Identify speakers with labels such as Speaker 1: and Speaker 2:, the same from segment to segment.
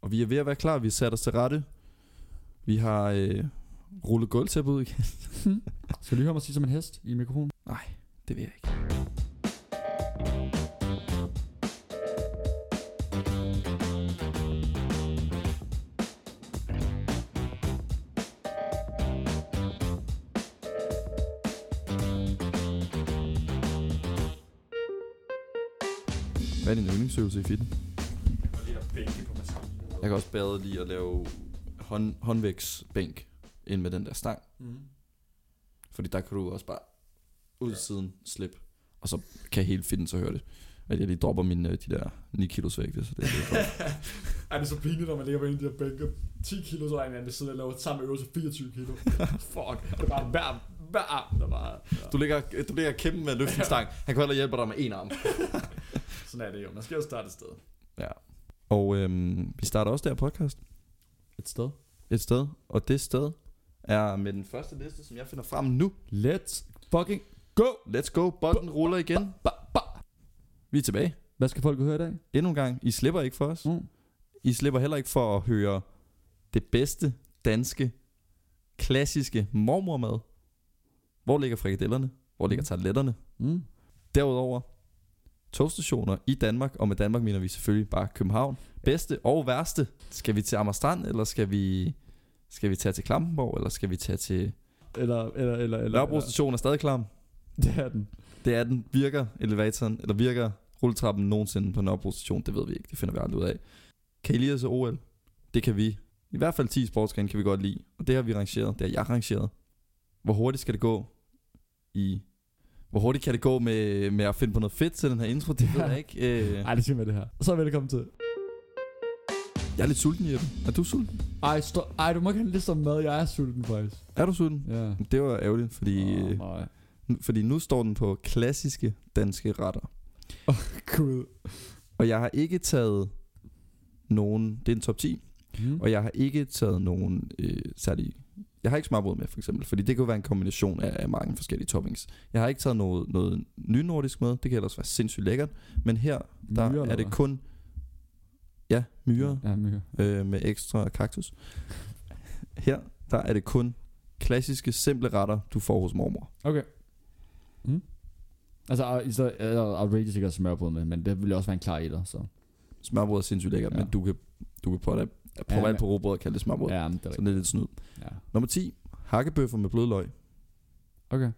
Speaker 1: Og vi er ved at være klar. Vi har sat os til rette. Vi har øh, rullet gulvtæppet ud igen.
Speaker 2: Skal du lige høre mig sige som en hest i mikrofonen?
Speaker 1: Det vil jeg ikke. Hvad er din yndlingsøvelse i fitten? Jeg kan også bedre lide at lave hånd, håndvægtsbænk ind med den der stang.
Speaker 2: Mm.
Speaker 1: Fordi der kan du også bare ud ja. siden slip. Og så kan hele finden så høre det. At jeg lige dropper mine, øh, de der 9 kilos vægte. Så det, er lidt godt.
Speaker 2: Ej, det er så pinligt, når man ligger på en af de her bænke. 10 kilo, så er der en anden, der sidder og laver samme øvelse 24 kilo. Fuck. Det er bare hver, hver arm, der bare... Ja.
Speaker 1: du, ligger, du ligger og kæmper med at løfte en stang. Han kan heller hjælpe dig med en arm.
Speaker 2: Sådan er det jo. Man skal jo starte et sted.
Speaker 1: Og øhm, vi starter også der podcast
Speaker 2: Et sted.
Speaker 1: et sted. Og det sted er med den første liste, som jeg finder frem nu.
Speaker 2: Let's fucking go!
Speaker 1: Let's go. Bolden ruller igen.
Speaker 2: Ba, ba.
Speaker 1: Vi er tilbage.
Speaker 2: Hvad skal folk høre i dag?
Speaker 1: Endnu en gang. I slipper ikke for os.
Speaker 2: Mm.
Speaker 1: I slipper heller ikke for at høre det bedste danske, klassiske mormormad. Hvor ligger frikadellerne? Hvor ligger tarteletterne?
Speaker 2: Mm.
Speaker 1: Derudover togstationer i Danmark, og med Danmark mener vi selvfølgelig bare København. Bedste og værste. Skal vi til Amagerstrand, eller skal vi, skal vi tage til Klampenborg, eller skal vi tage til...
Speaker 2: Eller, eller, eller, eller.
Speaker 1: Nørrebro station er stadig klam.
Speaker 2: eller. Det er den.
Speaker 1: Det er den. Virker elevatoren, eller virker rulletrappen nogensinde på Nørrebro station? Det ved vi ikke. Det finder vi aldrig ud af. Kan I lide os OL? Det kan vi. I hvert fald 10 sportsgrene kan vi godt lide. Og det har vi rangeret. Det har jeg rangeret. Hvor hurtigt skal det gå i... Hvor hurtigt kan det gå med, med at finde på noget fedt til den her intro? Det ved jeg ikke. Øh,
Speaker 2: Ej, det siger med det her. Så velkommen til.
Speaker 1: jeg er lidt sulten, Jeppe. Er du sulten?
Speaker 2: Ej, stå, ej du må ikke have lidt som mad. Jeg er sulten faktisk.
Speaker 1: Er du sulten?
Speaker 2: Ja.
Speaker 1: Det var ærgerligt, fordi, øh,
Speaker 2: nej.
Speaker 1: fordi nu står den på klassiske danske retter.
Speaker 2: Gud.
Speaker 1: Og jeg har ikke taget nogen... Det er en top 10.
Speaker 2: Mm.
Speaker 1: Og jeg har ikke taget nogen øh, særlig... Jeg har ikke smørbrød med, for eksempel, fordi det kan jo være en kombination af, af mange forskellige toppings. Jeg har ikke taget noget, noget nynordisk med, det kan ellers være sindssygt lækkert, men her der
Speaker 2: Myrer,
Speaker 1: myre, er
Speaker 2: eller
Speaker 1: det
Speaker 2: hvad?
Speaker 1: kun... Ja, myre
Speaker 2: Ja, myre.
Speaker 1: øh, med ekstra kaktus. Her der er det kun klassiske, simple retter, du får hos mormor.
Speaker 2: Okay. Mm. Altså, og- så er der outrageous ikke at smørbrød med, men det ville også være en klar etter, så.
Speaker 1: Smørbrød er sindssygt lækkert,
Speaker 2: Ja.
Speaker 1: ja. men du kan, du kan prøve at
Speaker 2: Ja,
Speaker 1: prøve ja,
Speaker 2: men-
Speaker 1: på robrød og kalde det smørbrød. Ja.
Speaker 2: Ja, men det
Speaker 1: Så
Speaker 2: er rigtigt.
Speaker 1: det er lidt snyd.
Speaker 2: Ja.
Speaker 1: Nummer 10. Hakkebøffer med blødløg.
Speaker 2: Okay.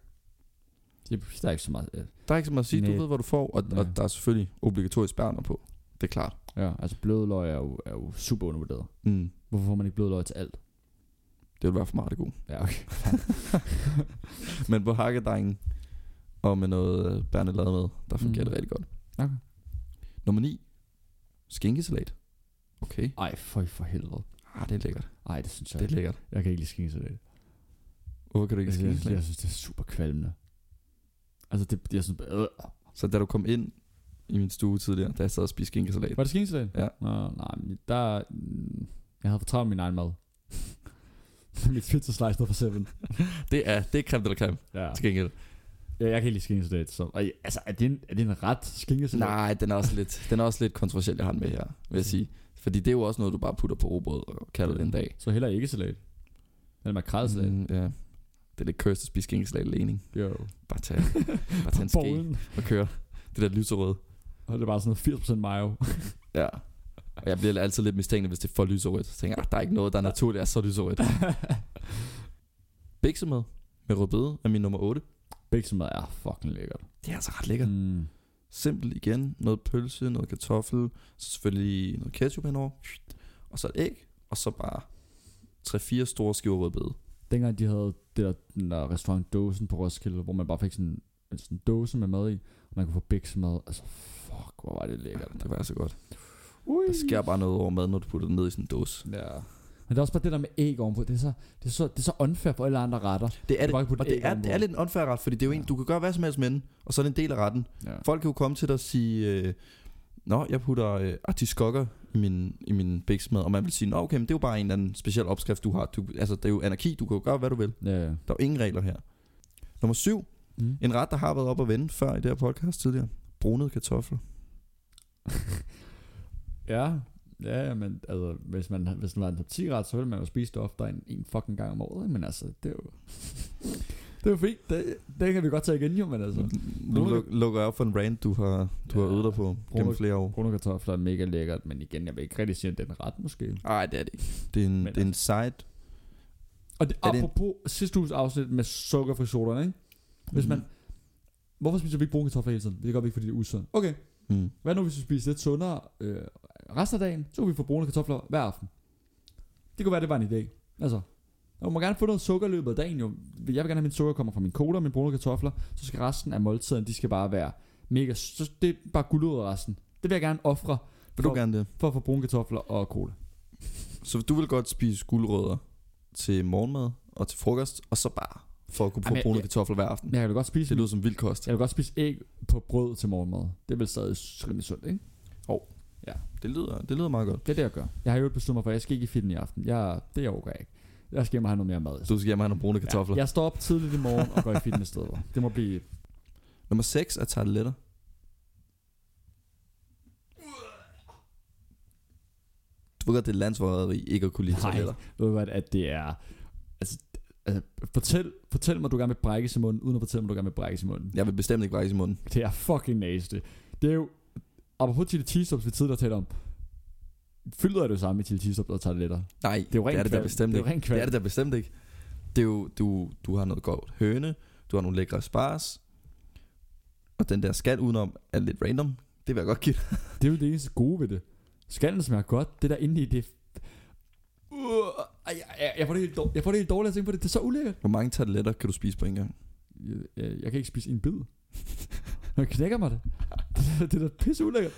Speaker 2: Det, der er ikke så meget. øh,
Speaker 1: Der er ikke så meget at sige,
Speaker 2: Næ.
Speaker 1: du ved, hvad du får, og,
Speaker 2: Ja.
Speaker 1: og der er selvfølgelig obligatorisk bærner på. Det er klart.
Speaker 2: Ja, altså blødløg er jo, er jo super undervurderet.
Speaker 1: Mm.
Speaker 2: Hvorfor får man ikke blødløg til alt?
Speaker 1: Det vil være for meget det gode.
Speaker 2: Ja, okay.
Speaker 1: Men på hakkedrengen og med noget øh, bærnelade med, der fungerer
Speaker 2: Mm.
Speaker 1: mm. det rigtig godt.
Speaker 2: Okay.
Speaker 1: Nummer 9. Skinkesalat. Okay.
Speaker 2: Ej, for, for helvede.
Speaker 1: Ah, det er lækkert.
Speaker 2: Ej, det synes jeg
Speaker 1: Det er
Speaker 2: ikke.
Speaker 1: lækkert.
Speaker 2: Jeg kan ikke lide skingesalat.
Speaker 1: Hvorfor kan du ikke
Speaker 2: Jeg, synes- jeg,
Speaker 1: skinkesalat?
Speaker 2: jeg synes, det er super kvalmende. Altså, det, jeg synes... Øh.
Speaker 1: Så da du kom ind i min stue tidligere, da jeg sad og spiste skinkesalat,
Speaker 2: Var det skingesalat?
Speaker 1: Ja.
Speaker 2: Nå, nej, men der... mm, Jeg havde for travlt med min egen mad. Mit pizza slice for 7.
Speaker 1: det er, det er creme eller creme,
Speaker 2: Ja.
Speaker 1: til gengæld.
Speaker 2: Ja, jeg kan ikke lide skingesalat. Så, og, altså, er det, en, er det en ret skingesalat?
Speaker 1: Nej, den er også lidt, den er også lidt kontroversiel, jeg har den med her, vil jeg sige. Fordi det er jo også noget, du bare putter på robrød og kalder det en dag.
Speaker 2: Så heller ikke salat. Eller makrelsalat. Mm.
Speaker 1: Mm, ja. Det er lidt cursed at spise skinkesalat alene.
Speaker 2: Jo.
Speaker 1: Bare tage, bare tage en ske
Speaker 2: Bowlen.
Speaker 1: og køre. Det der lyserød.
Speaker 2: Og det er bare sådan noget 80% mayo.
Speaker 1: Ja. Og jeg bliver altid lidt mistænkelig, hvis det er for lyserødt. Så tænker jeg, "Ah, der er ikke noget, der er naturligt er så lyserødt. Biksemad med rødbede er min nummer 8.
Speaker 2: Biksemad er fucking lækkert.
Speaker 1: Det er altså ret lækkert.
Speaker 2: Mm.
Speaker 1: Simpelt igen. Noget pølse, noget kartoffel, så selvfølgelig noget ketchup henover. Og så et æg, og så bare 3-4 store skiver rødbede.
Speaker 2: Dengang de havde det der, den der restaurant Dåsen på Roskilde, hvor man bare fik sådan en sådan dåse med mad i, og man kunne få biksemad. Altså fuck, hvor var det lækkert.
Speaker 1: Det var altså godt.
Speaker 2: Ui.
Speaker 1: Der sker bare noget over mad, når du putter det ned i sådan en dåse.
Speaker 2: Ja. Men det er også bare det der med æg ovenpå. Det er så, det er så, det er så unfair for alle andre retter.
Speaker 1: Det er,
Speaker 2: Du
Speaker 1: det,
Speaker 2: kan bare ikke putte
Speaker 1: og det
Speaker 2: æg
Speaker 1: er,
Speaker 2: ovenpå.
Speaker 1: det er lidt en unfair ret, fordi det er jo en,
Speaker 2: Ja.
Speaker 1: du kan gøre hvad som helst med den, og så er det en del af retten.
Speaker 2: Ja.
Speaker 1: Folk kan jo komme til dig og sige, øh, nå, jeg putter øh, artiskokker i min, i min bæksmad, og man vil sige, nå okay, men det er jo bare en eller anden speciel opskrift, du har. Du, altså, det er jo anarki, du kan jo gøre, hvad du vil.
Speaker 2: Ja, ja.
Speaker 1: Der er jo ingen regler her. Nummer syv,
Speaker 2: Mm.
Speaker 1: en ret, der har været op at vende før i det her podcast tidligere. Brunede kartofler.
Speaker 2: Ja. Ja, ja, men altså, hvis, man, hvis den var en top 10 ret, så ville man jo spise det oftere end en fucking gang om året, ikke? men altså, det er jo... det er jo fint, det, det, kan vi godt tage igen jo, men altså...
Speaker 1: Nu luk- lukker jeg op for en rant, du har, du har
Speaker 2: Ja.
Speaker 1: øvet dig på gennem
Speaker 2: Bruno-
Speaker 1: flere år.
Speaker 2: Brune kartofler er mega lækkert, men igen, jeg vil ikke rigtig sige, at den er ret måske.
Speaker 1: Nej, det er det ikke. Det er en,
Speaker 2: Men altså,
Speaker 1: det er en side.
Speaker 2: Og det,
Speaker 1: Er det en-
Speaker 2: apropos sidste uges afsnit med sukkerfri soda, ikke? Hvis man... Hvorfor spiser vi ikke brune kartofler hele tiden? Det gør vi ikke, fordi det er usundt. Okay,
Speaker 1: Mm.
Speaker 2: hvad nu hvis vi spiser lidt sundere øh, resten af dagen? Så kan vi få brune kartofler hver aften. Det kunne være, det var en idé. Altså, man må gerne få noget sukker i løbet af dagen jo. Jeg vil gerne have, at min sukker kommer fra min cola og mine brune kartofler. Så skal resten af måltiden, de skal bare være mega... Så det er bare guldud resten. Det vil jeg gerne ofre
Speaker 1: Vil du
Speaker 2: For-
Speaker 1: gerne det?
Speaker 2: for at få brune kartofler og cola.
Speaker 1: Så du vil godt spise guldrødder til morgenmad og til frokost, og så bare for at kunne få
Speaker 2: Jamen, jeg-
Speaker 1: brune
Speaker 2: jeg-
Speaker 1: kartofler hver aften.
Speaker 2: Men jeg kan da godt spise
Speaker 1: Det lyder som vild kost.
Speaker 2: Jeg vil godt spise æg på brød til morgenmad. Det er vel stadig rimelig sundt, ikke?
Speaker 1: Det lyder, det lyder meget godt.
Speaker 2: Det er det, jeg gør. Jeg har jo besluttet mig for, at jeg skal ikke i fitness i aften. Jeg, det overgår jeg ikke. Jeg skal hjem og have noget mere mad.
Speaker 1: Du skal hjem og have nogle brune kartofler.
Speaker 2: Ja, jeg står op tidligt i morgen og går i fitness steder. Det må blive...
Speaker 1: Nummer 6 er tarteletter. Du ved godt, det er landsforræderi ikke at kunne lide
Speaker 2: Nej.
Speaker 1: tarteletter.
Speaker 2: Ved du hvad, at det er... Altså, altså fortæl, fortæl mig, at du gerne vil brækkes i munden, uden at fortælle mig, at du gerne vil brækkes i munden.
Speaker 1: Jeg vil bestemt ikke brækkes i munden.
Speaker 2: Det er fucking næste. Det er jo... Apropos chili cheese stops, vi tidligere talte om. Fylder det jo samme i chili cheese stops og tarteletter.
Speaker 1: Nej,
Speaker 2: Det er jo
Speaker 1: det
Speaker 2: rent
Speaker 1: er det der
Speaker 2: kvalm.
Speaker 1: bestemt
Speaker 2: Det er jo
Speaker 1: ikke.
Speaker 2: rent
Speaker 1: Det er
Speaker 2: kvalm.
Speaker 1: det der bestemt ikke. Det er jo, du, du har noget godt høne, du har nogle lækre spars, og den der skat udenom er lidt random. Det vil jeg godt give dig.
Speaker 2: Det er jo det eneste gode ved det. Skallen smager godt. Det der inde i det... Uh, ej, jeg, jeg, jeg, får det helt dårligt, jeg får det helt dårligt at tænke på det. Det er så ulækkert.
Speaker 1: Hvor mange tarteletter kan du spise på en gang?
Speaker 2: Jeg, jeg, jeg kan ikke spise en bid. Når jeg knækker mig det. Det, det er da pisse ulækkert.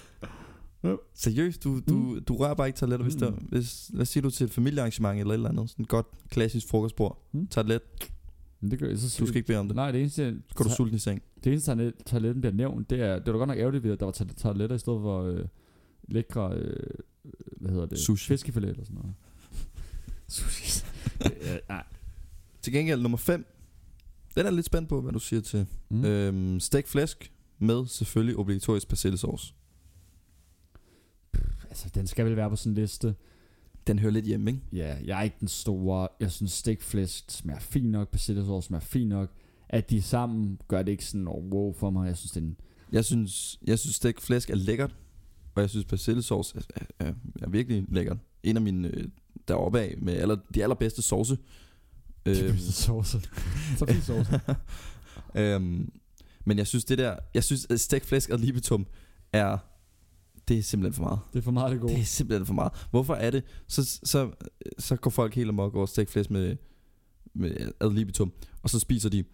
Speaker 1: Seriøst, du, du, mm. du rører bare ikke tarteletter, hvis,
Speaker 2: Mm.
Speaker 1: der, hvis, hvad siger du til et familiearrangement eller et eller andet? Sådan et godt klassisk frokostbord.
Speaker 2: Mm.
Speaker 1: Mm. Tartelet,
Speaker 2: Men det gør jeg så
Speaker 1: du skal ikke bede om det.
Speaker 2: Nej, det eneste...
Speaker 1: Så går du sulten i seng.
Speaker 2: Det eneste toilet- toiletten bliver nævnt, det er... Det var da godt nok ærgerligt ved, at der var toilet- toiletter i stedet for øh, lækre... Øh, hvad hedder det?
Speaker 1: Sushi.
Speaker 2: Fiskefilet eller sådan noget. Sushi. ja, nej.
Speaker 1: Til gengæld nummer 5. Den er jeg lidt spændt på, hvad du siger til.
Speaker 2: Mm.
Speaker 1: Mm. Øhm, stegt flæsk med selvfølgelig obligatorisk persillesauce.
Speaker 2: Altså, den skal vel være på sådan en liste.
Speaker 1: Den hører lidt hjemme, ikke?
Speaker 2: Ja, jeg er ikke den store. Jeg synes, stikflæsk smager fint nok. Persillesauce smager fint nok. At de sammen gør det ikke sådan oh, wow for mig. Jeg synes, det er en...
Speaker 1: Jeg synes, jeg synes stegt flæsk er lækkert, og jeg synes persillesauce er, er, er, er virkelig lækkert. En af mine øh, deroppe af med aller, de allerbedste sauce.
Speaker 2: Øh.
Speaker 1: Øhm,
Speaker 2: sauce. Så fint sauce.
Speaker 1: øhm, men jeg synes det der, jeg synes at stegt flæsk og libetum er, det er simpelthen for meget.
Speaker 2: Det er for meget det gode.
Speaker 1: Det er simpelthen for meget. Hvorfor er det? Så, så, så går folk helt amok over stegflæsk med, med ad libitum, og så spiser de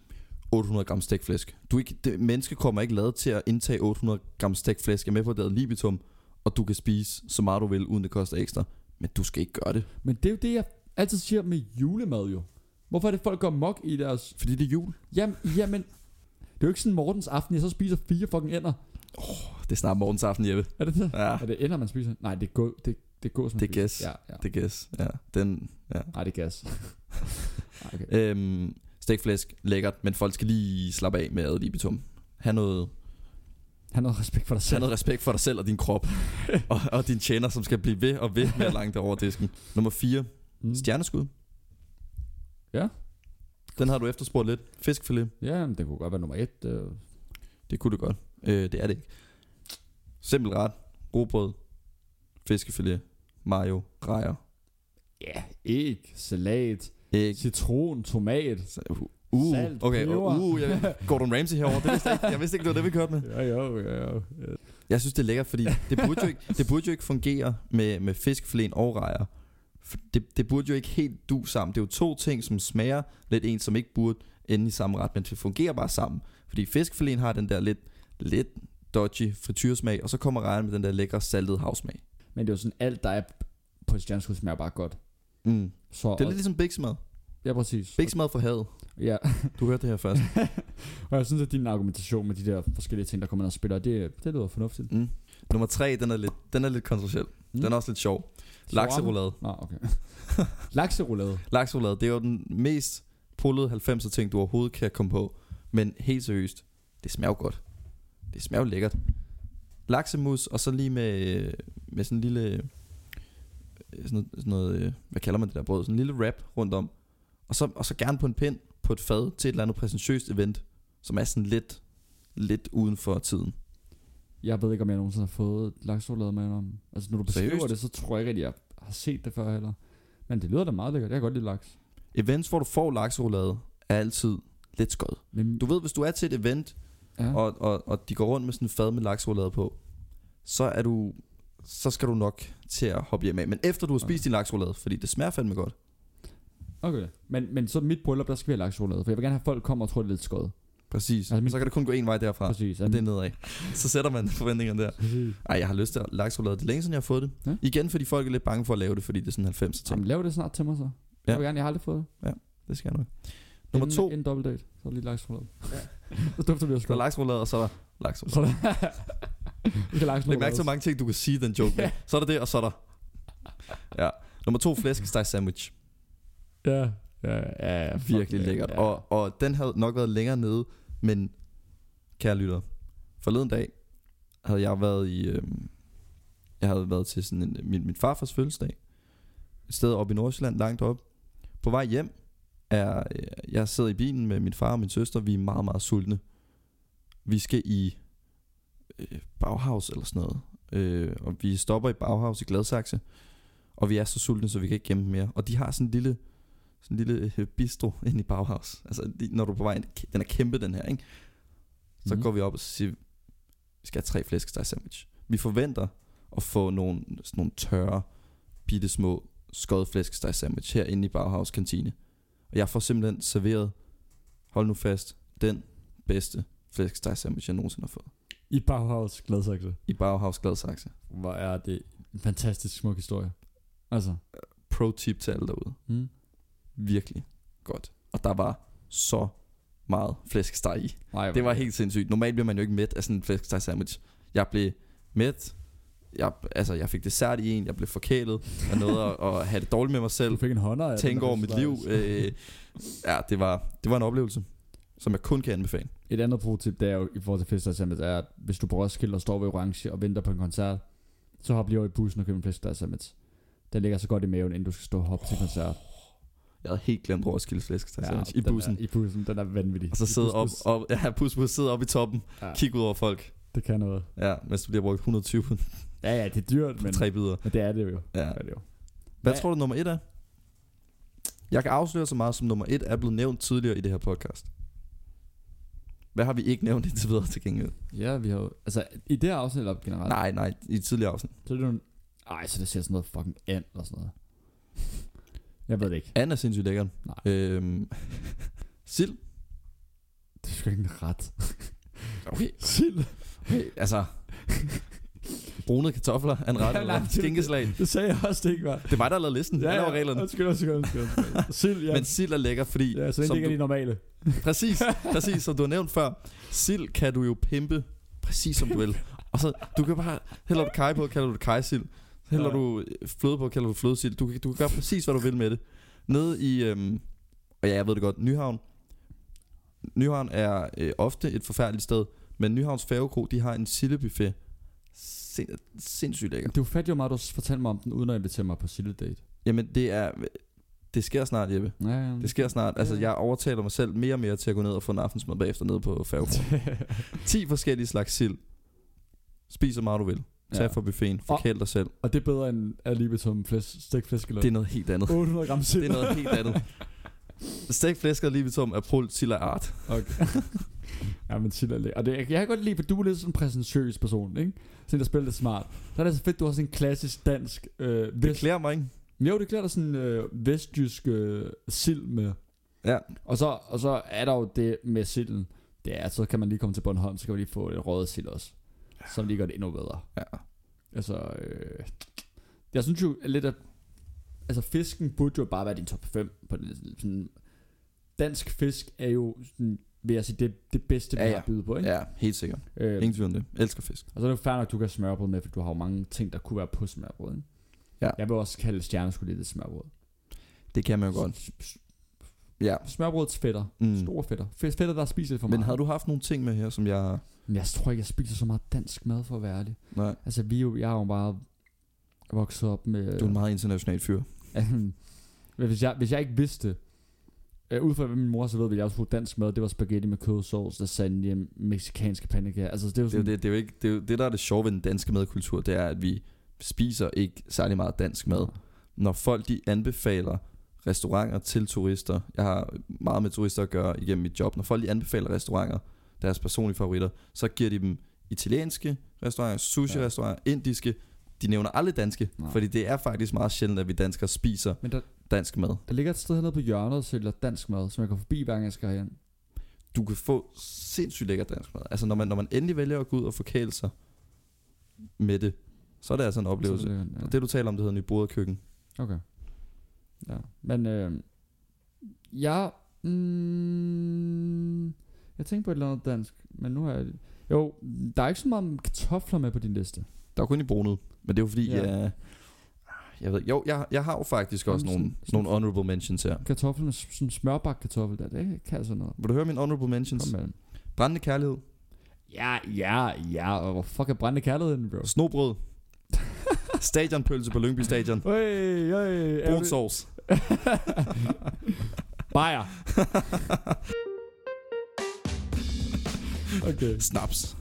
Speaker 1: 800 gram stegflæsk. Du er ikke, det, menneskekrummer er ikke lavet til at indtage 800 gram stegflæsk. Jeg er med på det ad libitum, og du kan spise så meget du vil, uden det koster ekstra. Men du skal ikke gøre det,
Speaker 2: Men det er jo det, jeg altid siger med julemad jo. Hvorfor er det, folk går mok i deres...
Speaker 1: fordi det er jul.
Speaker 2: Jamen, jamen... Det er jo ikke sådan Mortens aften, jeg så spiser fire fucking ender.
Speaker 1: Det er snart morgens aften, Jeppe.
Speaker 2: Er det det?
Speaker 1: Ja,
Speaker 2: Er det ender, man spiser? Nej, det er gå, det, det er gås, man
Speaker 1: Det er
Speaker 2: spiser.
Speaker 1: gæs.
Speaker 2: Ja, ja.
Speaker 1: det gæs. Ja, den, ja.
Speaker 2: Nej, det er gas. Ej, okay.
Speaker 1: Øhm, stegflæsk, lækkert, men folk skal lige slappe af med ad libitum. Ha' noget,
Speaker 2: Han har noget respekt for dig
Speaker 1: Tag
Speaker 2: selv.
Speaker 1: noget respekt for dig selv og din krop og, og din tjener, som skal blive ved og ved med at lange dig over disken. Nummer 4.
Speaker 2: Mm.
Speaker 1: Stjerneskud.
Speaker 2: Ja.
Speaker 1: Den har du efterspurgt lidt. Fiskfilet.
Speaker 2: Ja, men det kunne godt være nummer et. Øh.
Speaker 1: Det kunne det godt. Øh, det er det ikke. Simpel ret. Robrød. Fiskefilet. Mayo. Rejer.
Speaker 2: Ja, æg, salat,
Speaker 1: Æg.
Speaker 2: citron, tomat.
Speaker 1: Så- Uh,
Speaker 2: Salt,
Speaker 1: okay,
Speaker 2: peber.
Speaker 1: uh, uh, jeg, Gordon Ramsay herovre, det vidste jeg, ikke. jeg vidste ikke, det var det, vi kørte med.
Speaker 2: Ja, jo, ja, jo.
Speaker 1: Jeg synes, det er lækkert, fordi det burde jo ikke, det burde jo ikke fungere med, med fiskflæn og rejer. For Det, det burde jo ikke helt du sammen. Det er jo to ting, som smager lidt en, som ikke burde ende i samme ret, men det fungerer bare sammen. Fordi fiskflæn har den der lidt, lidt dodgy frityresmag, og så kommer rejen med den der lækre saltede havsmag.
Speaker 2: Men det er jo sådan, alt der er på et stjerneskud smager bare godt.
Speaker 1: Mm.
Speaker 2: Så,
Speaker 1: Det er lidt ligesom biksmad.
Speaker 2: ja, præcis.
Speaker 1: Biksmad fra havet.
Speaker 2: Ja,
Speaker 1: Du hørte det her først.
Speaker 2: og jeg synes, at din argumentation med de der forskellige ting, der kommer ind og spiller, det, det lyder fornuftigt.
Speaker 1: Mm. Nummer tre, den er lidt, den er lidt kontroversiel.
Speaker 2: Mm.
Speaker 1: Mm. Den er også lidt sjov. Lakserolade.
Speaker 2: Nå, okay. Lakserolade.
Speaker 1: Laksolad, det er jo den mest pullede 90'er ting, du overhovedet kan komme på. Men helt seriøst, det smager jo godt. Det smager jo lækkert. Laksemus, og så lige med, med sådan en lille øh, sådan noget, sådan noget øh, hvad kalder man det der brød, sådan en lille wrap rundt om, og så, og så gerne på en pind på et fad til et eller andet præsentøst event, som er sådan lidt, lidt uden for tiden.
Speaker 2: Jeg ved ikke, om jeg nogensinde har fået laksolade med om. Altså, når du beskriver
Speaker 1: Seriøst?
Speaker 2: det, så tror jeg ikke, at jeg har set det før heller. Men det lyder da meget lækkert. Jeg kan godt lide laks.
Speaker 1: Events, hvor du får lakserolade, er altid lidt skød.
Speaker 2: Men,
Speaker 1: Du ved, hvis du er til et event,
Speaker 2: ja.
Speaker 1: og, og, og de går rundt med sådan en fad med lakserolade på, så er du så skal du nok til at hoppe hjem af. Men efter du har spist din lakserolade, fordi det smager fandme godt.
Speaker 2: Okay. Men, men så mit bryllup, der skal vi have laksolade. For jeg vil gerne have, at folk kommer og tror, det er lidt skød.
Speaker 1: Præcis.
Speaker 2: Altså, min-
Speaker 1: Så kan det kun gå en vej derfra.
Speaker 2: Præcis.
Speaker 1: Og det er nedad. Så sætter man forventningerne der. Ej, jeg har lyst til at laksolade. Det er længe siden, jeg har fået det.
Speaker 2: Ja.
Speaker 1: Ja. Igen, fordi folk er lidt bange for at lave det, fordi det er sådan 90 ting.
Speaker 2: Jamen, lav det snart til mig så. Ja. Jeg vil gerne, jeg har aldrig fået det.
Speaker 1: Det skal jeg nok. Nummer to,
Speaker 2: En, en dobbelt date. Så er der lige laksolade. Ja. så dufter vi også
Speaker 1: der er
Speaker 2: godt.
Speaker 1: laksolade, og så er der laksolade.
Speaker 2: Så er der... vi kan laksolade.
Speaker 1: Læg mærke til, hvor mange ting, du kan sige i den joke. med. Så er der det, og så er der... Ja. Nummer to, flæskesteg sandwich.
Speaker 2: Ja. Ja, ja, ja, fuck
Speaker 1: Virkelig
Speaker 2: ja,
Speaker 1: lækkert.
Speaker 2: Ja.
Speaker 1: Og, og den havde nok været længere nede, men kære lytter, forleden dag havde jeg været i... Øhm, jeg havde været til sådan en, min, min farfars fødselsdag. Et sted oppe i Nordsjælland, langt op. På vej hjem er... øh, Jeg sidder i bilen med min far og min søster. Vi er meget, meget sultne. Vi skal i øh, Bauhaus eller sådan noget. Øh, og vi stopper i Bauhaus i Gladsaxe. Og vi er så sultne, så vi kan ikke gemme mere. Og de har sådan en lille sådan en lille øh, bistro ind i Bauhaus. Altså, de- når du er på vej ind, den er kæmpe, den her, ikke? Så
Speaker 2: Mhm.
Speaker 1: går vi op og siger, vi skal have tre flæskesteg sandwich. Vi forventer at få nogle, sådan nogle tørre, bitte små skåret flæskesteg sandwich herinde i Bauhaus kantine. Og jeg får simpelthen serveret, hold nu fast, den bedste flæskesteg sandwich, jeg nogensinde har fået.
Speaker 2: I Bauhaus Gladsaxe.
Speaker 1: I Bauhaus Gladsaxe.
Speaker 2: Hvor er det en fantastisk smuk historie. Altså.
Speaker 1: Pro tip til alle derude.
Speaker 2: Mm.
Speaker 1: Virkelig godt. Og der var så meget flæskesteg i.
Speaker 2: Nej,
Speaker 1: Det var helt sindssygt. Normalt bliver man jo ikke mæt af sådan en flæskesteg sandwich. Jeg blev mæt. Jeg, altså, jeg fik dessert i en. Jeg blev forkælet. Jeg nåede at, at have det dårligt med mig
Speaker 2: Du
Speaker 1: selv.
Speaker 2: fik en hånder af
Speaker 1: Tænke
Speaker 2: den,
Speaker 1: over mit
Speaker 2: der
Speaker 1: liv.
Speaker 2: slags.
Speaker 1: Øh, ja, det var, det var en oplevelse, som jeg kun kan anbefale.
Speaker 2: Et andet pro-tip, det er jo i forhold til flæskestegsandwich, er, at hvis du på Roskilde og står ved Orange og venter på en koncert, så hop lige over i bussen og køb en flæskestegsandwich. Den ligger så godt i maven, inden du skal stå og hoppe til koncert.
Speaker 1: Jeg havde helt glemt Roskilde flæskesteg sandwich i
Speaker 2: den
Speaker 1: bussen.
Speaker 2: Er, I bussen, den er vanvittig.
Speaker 1: Og så
Speaker 2: I
Speaker 1: sidde
Speaker 2: bus,
Speaker 1: op,
Speaker 2: bus.
Speaker 1: op, ja, bus, bus, sidde op i toppen.
Speaker 2: Ja.
Speaker 1: Kigge ud over folk.
Speaker 2: Det kan noget.
Speaker 1: Ja, mens du bliver brugt 120 på
Speaker 2: Ja, ja, det er dyrt, men,
Speaker 1: tre bidder.
Speaker 2: men det er det jo.
Speaker 1: Ja.
Speaker 2: Det er det jo.
Speaker 1: Hvad
Speaker 2: Hvad-
Speaker 1: tror du nummer et er? Jeg kan afsløre så meget som nummer et er blevet nævnt tidligere i det her podcast. Hvad har vi ikke nævnt indtil videre til gengæld?
Speaker 2: Ja, vi har jo, altså i det her afsnit, eller generelt,
Speaker 1: Nej, nej, i et tidligere afsnit.
Speaker 2: så er det jo, ej, så det ser sådan noget fucking and eller sådan noget. Jeg ved det ikke.
Speaker 1: Anne er sindssygt lækkert.
Speaker 2: Nej.
Speaker 1: Øhm, sild.
Speaker 2: Det er sgu ikke en ret.
Speaker 1: Okay.
Speaker 2: Sild.
Speaker 1: okay. Altså, brunede kartofler er en ret
Speaker 2: Ja, nej,
Speaker 1: eller
Speaker 2: det-
Speaker 1: skinkeslag.
Speaker 2: Det sagde jeg også, det ikke var.
Speaker 1: Det var der lavede listen. Ja, ja. var reglerne.
Speaker 2: Undskyld, undskyld, undskyld. undskyld. Sild, ja.
Speaker 1: Men sild er lækker, fordi...
Speaker 2: ja, så det
Speaker 1: som
Speaker 2: ikke er
Speaker 1: du,
Speaker 2: de normale.
Speaker 1: præcis, præcis, som du har nævnt før. Sild kan du jo pimpe præcis som du vil. Og så, du kan bare... Hælder du kaj på, kalder du det kajsild. Hælder
Speaker 2: Ja.
Speaker 1: du øh, fløde på, kalder du det flødesild. Du, kan- du kan gøre præcis, hvad du vil med det. Nede i... Øhm, og ja, jeg ved det godt, Nyhavn. Nyhavn er øh, ofte et forfærdeligt sted, men Nyhavns Færgekro, de har en sildebuffet. Sind, sindssygt lækker.
Speaker 2: Du fandt jo meget, du fortalte mig om den, uden at invitere mig på Sille-date.
Speaker 1: Jamen, det er... Det sker snart, Jeppe.
Speaker 2: Ja, ja.
Speaker 1: Det sker snart. Altså, jeg overtaler mig selv mere og mere til at gå ned og få en aftensmad bagefter nede på Færgekro. 10 forskellige slags sild. Spis så meget du vil. Tag
Speaker 2: Ja.
Speaker 1: ja. fra buffeten. Forkæl dig selv.
Speaker 2: Og det er bedre end alibitum flæs, stegt flæskeløg.
Speaker 1: Det er noget helt andet.
Speaker 2: 800 gram sild.
Speaker 1: Det er noget helt andet. Stegt flæsk og libitum er prult sild af art.
Speaker 2: Okay. ja, men sild er lækker. Og det, jeg kan godt lide, for du er lidt sådan en præsentøs person, ikke? Sådan der spiller lidt smart. Så er det så fedt, du har sådan en klassisk dansk øh,
Speaker 1: Det
Speaker 2: vest.
Speaker 1: klæder mig, ikke?
Speaker 2: Jo, det klæder dig sådan øh, vestjysk øh, sild med.
Speaker 1: Ja.
Speaker 2: Og så, og så er der jo det med silden. Det er, at så kan man lige komme til Bornholm, så kan man lige få det røde sild også. Som lige gør det endnu bedre.
Speaker 1: Ja.
Speaker 2: Altså, øh, jeg synes jo lidt, at altså, fisken burde jo bare være din top 5. På den, sådan, dansk fisk er jo, sådan, vil jeg sige, det, det bedste, vi
Speaker 1: Ja,
Speaker 2: ja,
Speaker 1: ja.
Speaker 2: har at byde på. Ikke?
Speaker 1: Ja, helt sikkert.
Speaker 2: Øh,
Speaker 1: Ingen tvivl om det. Elsker fisk.
Speaker 2: og så er det jo fair nok, at du kan have smørbrød med, for du har jo mange ting, der kunne være på smørbrød. Ikke?
Speaker 1: Ja.
Speaker 2: Jeg vil også kalde stjerneskolette smørbrød.
Speaker 1: Det kan man jo godt. Ja.
Speaker 2: Smørbrødsfætter. Mm.
Speaker 1: Mm.
Speaker 2: Store fætter. Fæ- Fætter, der spiser lidt for meget.
Speaker 1: Men havde du haft nogle ting med her, som jeg...
Speaker 2: Men jeg tror ikke, jeg spiser så meget dansk mad, for at være ærlig.
Speaker 1: Nej.
Speaker 2: Altså, vi er jo, jeg er jo bare Jeg voksede op med...
Speaker 1: Du er en meget international fyr.
Speaker 2: Øhm, Men hvis jeg, hvis jeg ikke vidste, øh, ud fra hvad min mor har serveret, ville jeg også bruge dansk mad. Det var spaghetti med kødsovs, lasagne, meksikanske pandekager. Altså, det var
Speaker 1: Det, er jo
Speaker 2: sådan,
Speaker 1: det, det, er jo ikke, det, er jo, det, der er det sjove ved den danske madkultur, det er, at vi spiser ikke særlig meget dansk mad. Når folk de anbefaler restauranter til turister, jeg har meget med turister at gøre igennem mit job, når folk de anbefaler restauranter, deres personlige favoritter, så giver de dem italienske restauranter, sushi-restauranter, indiske, de nævner aldrig danske,
Speaker 2: Nej.
Speaker 1: fordi det er faktisk meget sjældent, at vi danskere spiser
Speaker 2: Men der,
Speaker 1: dansk mad.
Speaker 2: der ligger et sted hernede på hjørnet, der sælger dansk mad, som jeg går forbi hver gang jeg skal herind.
Speaker 1: du kan få sindssygt lækker dansk mad. Altså når man, når man endelig vælger at gå ud og forkæle sig med det, så er det altså en oplevelse.
Speaker 2: Så
Speaker 1: Det,
Speaker 2: ligger den, ja.
Speaker 1: ja. det du taler om, det hedder Nyboderkøkken.
Speaker 2: Okay. Ja. Men øh, jeg, mm, jeg tænkte på et eller andet dansk, men nu har jeg... Jo, der er ikke så meget om kartofler med på din liste.
Speaker 1: Der er kun i bonet, men det er jo fordi,
Speaker 2: Ja.
Speaker 1: ja. jeg, jeg ved ikke- jo, jeg, jeg har jo faktisk også
Speaker 2: Jamen,
Speaker 1: nogle,
Speaker 2: sådan-
Speaker 1: nogle honorable mentions her.
Speaker 2: Kartofler med s- sådan en smørbagt kartoffel der, det kan altså noget.
Speaker 1: Vil du høre mine honorable mentions?
Speaker 2: Kom med den.
Speaker 1: Brændende kærlighed,
Speaker 2: Ja, ja, ja, og hvor fuck er brændende kærligheden, bro?
Speaker 1: snobrød, stadionpølse på Lyngby Stadion,
Speaker 2: Øj, øj,
Speaker 1: brunsovs.
Speaker 2: Bajer. okay,
Speaker 1: Snaps.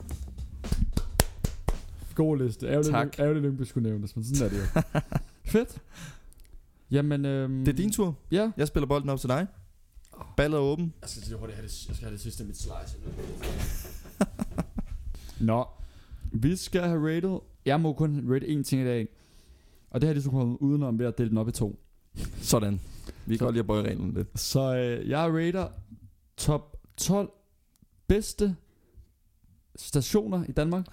Speaker 2: god liste. Ærgerligt,
Speaker 1: Tak.
Speaker 2: Ærgerligt, Lyngby skulle nævnes, men sådan er det jo. Fedt. Jamen, øhm,
Speaker 1: Det er din tur.
Speaker 2: Ja.
Speaker 1: Jeg spiller bolden op til dig. Ballet er åben.
Speaker 3: Jeg skal lige hurtigt have det, jeg skal have det sidste af mit slice.
Speaker 2: Nå, vi skal have rated. Jeg må kun rate én ting i dag. Og det her, de skulle komme udenom ved at dele den op i to.
Speaker 1: Sådan. Vi
Speaker 2: Så-
Speaker 1: kan godt lide at bøje reglen lidt.
Speaker 2: Så øh, jeg rater top 12 bedste stationer i Danmark,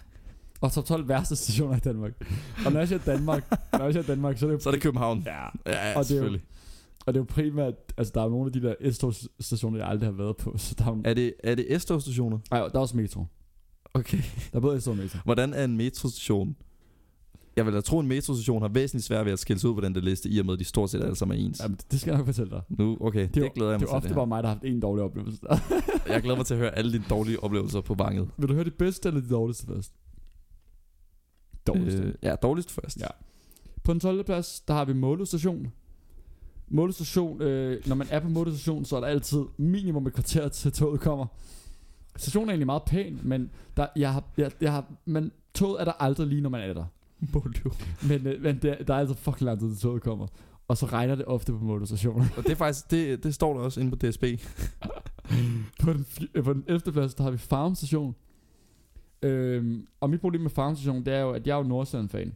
Speaker 2: og top 12 værste stationer i Danmark. Og når jeg siger Danmark, når jeg siger Danmark, så er det jo...
Speaker 1: Så er det København.
Speaker 2: Ja,
Speaker 1: Ja,
Speaker 2: Og det er jo-
Speaker 1: selvfølgelig.
Speaker 2: og det er jo primært, altså der er nogle af de der S-tog-stationer, jeg aldrig har været på, så der er jo...
Speaker 1: Er det, er det S-togstationer?
Speaker 2: Ej, der er også metro.
Speaker 1: Okay.
Speaker 2: Der er både S-tog og metro.
Speaker 1: Hvordan er en metrostation? Jeg vil da tro, en metrostation har væsentligt svært ved at skille sig ud på den der liste, i og med, at de stort set alle sammen er ens.
Speaker 2: Jamen, det skal jeg nok fortælle dig.
Speaker 1: Nu, okay, det,
Speaker 2: er jo-
Speaker 1: det glæder jeg
Speaker 2: Det
Speaker 1: mig
Speaker 2: er jo
Speaker 1: til.
Speaker 2: ofte
Speaker 1: Det
Speaker 2: bare
Speaker 1: her.
Speaker 2: mig, der har haft en dårlig oplevelse.
Speaker 1: Jeg glæder mig til at høre alle dine dårlige oplevelser på vanget.
Speaker 2: Vil du høre det bedste eller det dårligste først? Dårligste.
Speaker 1: Øh, ja, dårligst først.
Speaker 2: Ja. På den 12. plads, der har vi Målø station. Målø station, øh, når man er på Målø station, så er der altid minimum et kvarter til toget kommer. Stationen er egentlig meget pæn, men der, jeg har, jeg, jeg har, men toget er der aldrig lige, når man er der. Men, øh, men der, der er altså fucking lang tid, til toget kommer. Og så regner det ofte på Målø station.
Speaker 1: Og det er faktisk, det, det står der også inde på DSB.
Speaker 2: på, den, fj- øh, på den 11. plads, der har vi Farm Station. Øhm, og mit problem med Farm Station, det er jo, at jeg er jo Nordsjælland-fan.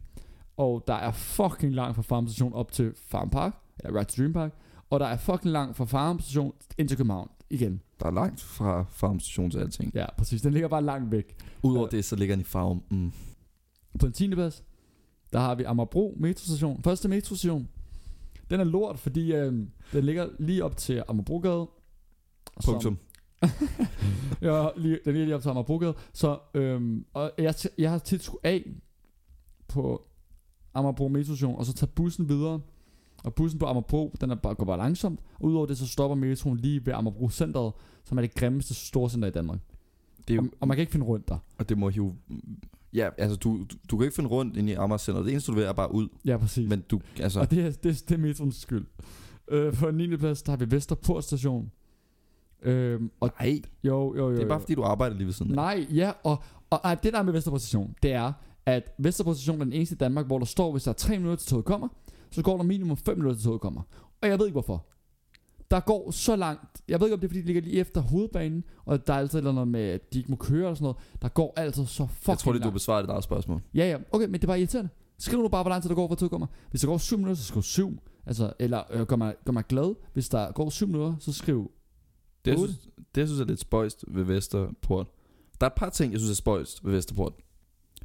Speaker 2: Og der er fucking langt fra Farm Station op til Farm Park, eller Ride to Dream Park. Og der er fucking langt fra Farm Station ind til København igen.
Speaker 1: Der er langt fra farmstation til alting.
Speaker 2: Ja, præcis. Den ligger bare langt væk.
Speaker 1: Udover det, så ligger den i farm. Mm.
Speaker 2: På den 10. plads, der har vi Amagerbro metrostation. Første metrostation. Den er lort, fordi øh, den ligger lige op til Amagerbrogade. som-
Speaker 1: Punktum.
Speaker 2: Ja, lige, den er lige op til Amagerbrogade. Så øhm, og jeg, t- jeg har tit skulle af på Amagerbro metrostation, og så tager bussen videre. Og bussen på Amagerbro, den er bare, går bare langsomt. Og udover det, så stopper metroen lige ved Amagerbro Centeret, som er det grimmeste storcenter i Danmark.
Speaker 1: Det er
Speaker 2: Og,
Speaker 1: jo,
Speaker 2: og man kan ikke finde rundt der.
Speaker 1: og det må hive... Ja, altså du, du, du kan ikke finde rundt inde i Amager Center. Det eneste, du ved, er bare ud.
Speaker 2: Ja, præcis.
Speaker 1: Men du, altså...
Speaker 2: Og det er, det, er- det er metroens skyld. Øh, på 9. plads, der har vi Vesterport station. Øhm, og
Speaker 1: Nej,
Speaker 2: jo, jo, jo.
Speaker 1: det er bare,
Speaker 2: jo.
Speaker 1: fordi du arbejder lige ved siden af.
Speaker 2: Nej, ja, og, og ej, det der er med Vesterport station, det er, at Vesterport station er den eneste i Danmark, hvor der står, hvis der er 3 minutter til toget kommer, så går der minimum 5 minutter til toget kommer. Og jeg ved ikke hvorfor. Der går så langt. Jeg ved ikke, om det er, fordi det ligger lige efter hovedbanen, og der er altid et eller andet med, at de ikke må køre eller sådan noget. Der går altid så fucking
Speaker 1: Jeg tror lige, du
Speaker 2: langt.
Speaker 1: har besvaret dit eget spørgsmål.
Speaker 2: Ja, ja. Okay, men det er bare irriterende. Skriv nu bare, hvor lang tid der går, hvor tid kommer. Hvis der går 7 minutter, så skriv 7. Altså, eller øh, gør, mig, gør mig glad. Hvis der går 7 minutter, så skriv...
Speaker 1: Det, jeg
Speaker 2: Otte.
Speaker 1: synes, det, jeg synes er lidt spøjst ved Vesterport. Der er et par ting, jeg synes er spøjst ved Vesterport.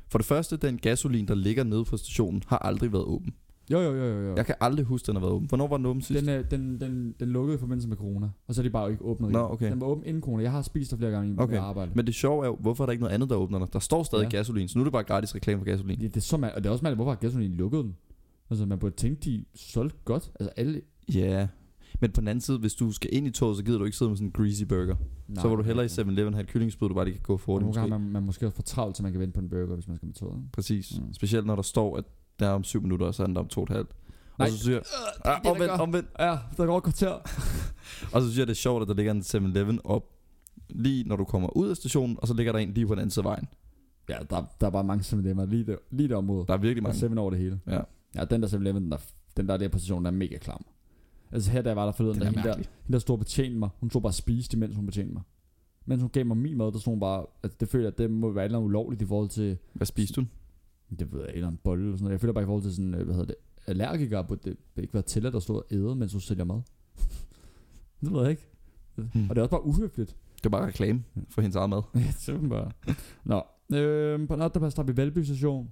Speaker 1: For det første, den gasolin, der ligger nede på stationen, har aldrig været åben.
Speaker 2: Jo, jo, jo, jo. jo.
Speaker 1: Jeg kan aldrig huske, den har været åben. Hvornår var den åben sidst?
Speaker 2: Den, øh, den, den, den lukkede i forbindelse med corona, og så er de bare ikke åbnet
Speaker 1: Nå,
Speaker 2: igen.
Speaker 1: okay.
Speaker 2: Den var åben inden corona. Jeg har spist der flere gange i
Speaker 1: Okay.
Speaker 2: okay. arbejde. Men
Speaker 1: Men det sjove er jo, hvorfor er der ikke noget andet, der åbner der? Der står stadig
Speaker 2: Ja.
Speaker 1: ja. gasolin, så nu er det bare gratis reklame for gasolin.
Speaker 2: det, det, er så mal- og det er også mærkeligt, hvorfor har gasolinen lukket den? Altså, man burde tænke, de solgte godt. Altså, alle...
Speaker 1: Ja. Yeah. Men på den anden side, hvis du skal ind i toget, så gider du ikke sidde med sådan en greasy burger. Nej, så vil du hellere i 7-Eleven have et kyllingespyd, du bare lige kan gå
Speaker 2: Og
Speaker 1: for det
Speaker 2: nogle gange
Speaker 1: måske.
Speaker 2: har man, man måske også for travlt, så man kan vente på en burger, hvis man skal med toget.
Speaker 1: Præcis.
Speaker 2: Mm.
Speaker 1: Mm. Specielt når der står, at den er om 7 minutter, og så er den der om 2,5.
Speaker 2: Nej.
Speaker 1: Og så siger jeg,
Speaker 2: er
Speaker 1: ah,
Speaker 2: Øh, det, der
Speaker 1: omvendt,
Speaker 2: gør."
Speaker 1: omvendt.
Speaker 2: Ja, der går et kvarter.
Speaker 1: Og så synes jeg, det er sjovt, at der ligger en 7-Eleven op, lige når du kommer ud af stationen, og så ligger der en lige på den anden side af vejen.
Speaker 2: Ja, der, der er bare mange 7-Eleven lige, der, lige der område.
Speaker 1: Der er virkelig
Speaker 2: Der
Speaker 1: mange.
Speaker 2: er 7 over det hele.
Speaker 1: Ja.
Speaker 2: Ja, den der 7-Eleven, den der, den der der på stationen, der er mega klam. Altså her, der var der forleden,
Speaker 1: Den
Speaker 2: der
Speaker 1: er
Speaker 2: hende, der,
Speaker 1: mærkelig.
Speaker 2: hende der stod og betjente mig. Hun stod bare og spiste, mens hun betjente mig. Mens hun gav mig min mad, der stod hun bare... Altså, det føler jeg, at det må være et eller andet ulovligt i forhold til...
Speaker 1: Hvad spiste du?
Speaker 2: Det ved jeg, en eller anden bolle eller sådan noget. Jeg føler bare i forhold til sådan... øh, Hvad hedder det? Allergikere burde det ikke være tilladt at stå og æde, mens hun sælger mad. det ved jeg ikke.
Speaker 1: Hmm.
Speaker 2: Og det er også bare uhøfligt.
Speaker 1: Det var bare reklame for hendes eget mad.
Speaker 2: Ja, det er bare. Nå, øh, på en otteplads, der er vi Valby station.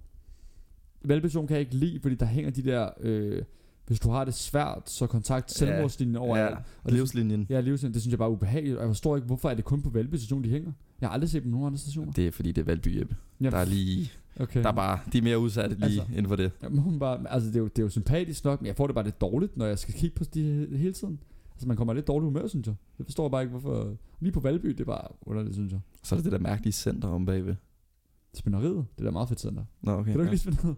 Speaker 2: Valby station kan jeg ikke lide, fordi der hænger de der, øh, hvis du har det svært, så kontakt selvmordslinjen over.
Speaker 1: ja,
Speaker 2: og det,
Speaker 1: livslinjen.
Speaker 2: ja, livslinjen, det synes jeg bare er ubehageligt, og jeg forstår ikke, hvorfor er det kun på Valby station, de hænger. Jeg har aldrig set dem på nogen andre stationer.
Speaker 1: Det er fordi, det er Valby Jeppe.
Speaker 2: Jamen,
Speaker 1: Der er lige,
Speaker 2: okay.
Speaker 1: der er bare, de er mere udsatte lige
Speaker 2: Altså.
Speaker 1: altså. inden for det.
Speaker 2: Jamen, hun bare, altså det er, jo, det er jo sympatisk nok, men jeg får det bare lidt dårligt, når jeg skal kigge på de hele tiden. Altså man kommer i lidt dårlig humør, synes jeg. Jeg forstår bare ikke, hvorfor... Lige på Valby, det er bare underligt, synes jeg.
Speaker 1: Så er der det der mærkelige center om bagved.
Speaker 2: Spænderiet, det er da meget fedt center.
Speaker 1: Nå, okay.
Speaker 2: Kan du ikke
Speaker 1: ja.
Speaker 2: lige spænderiet?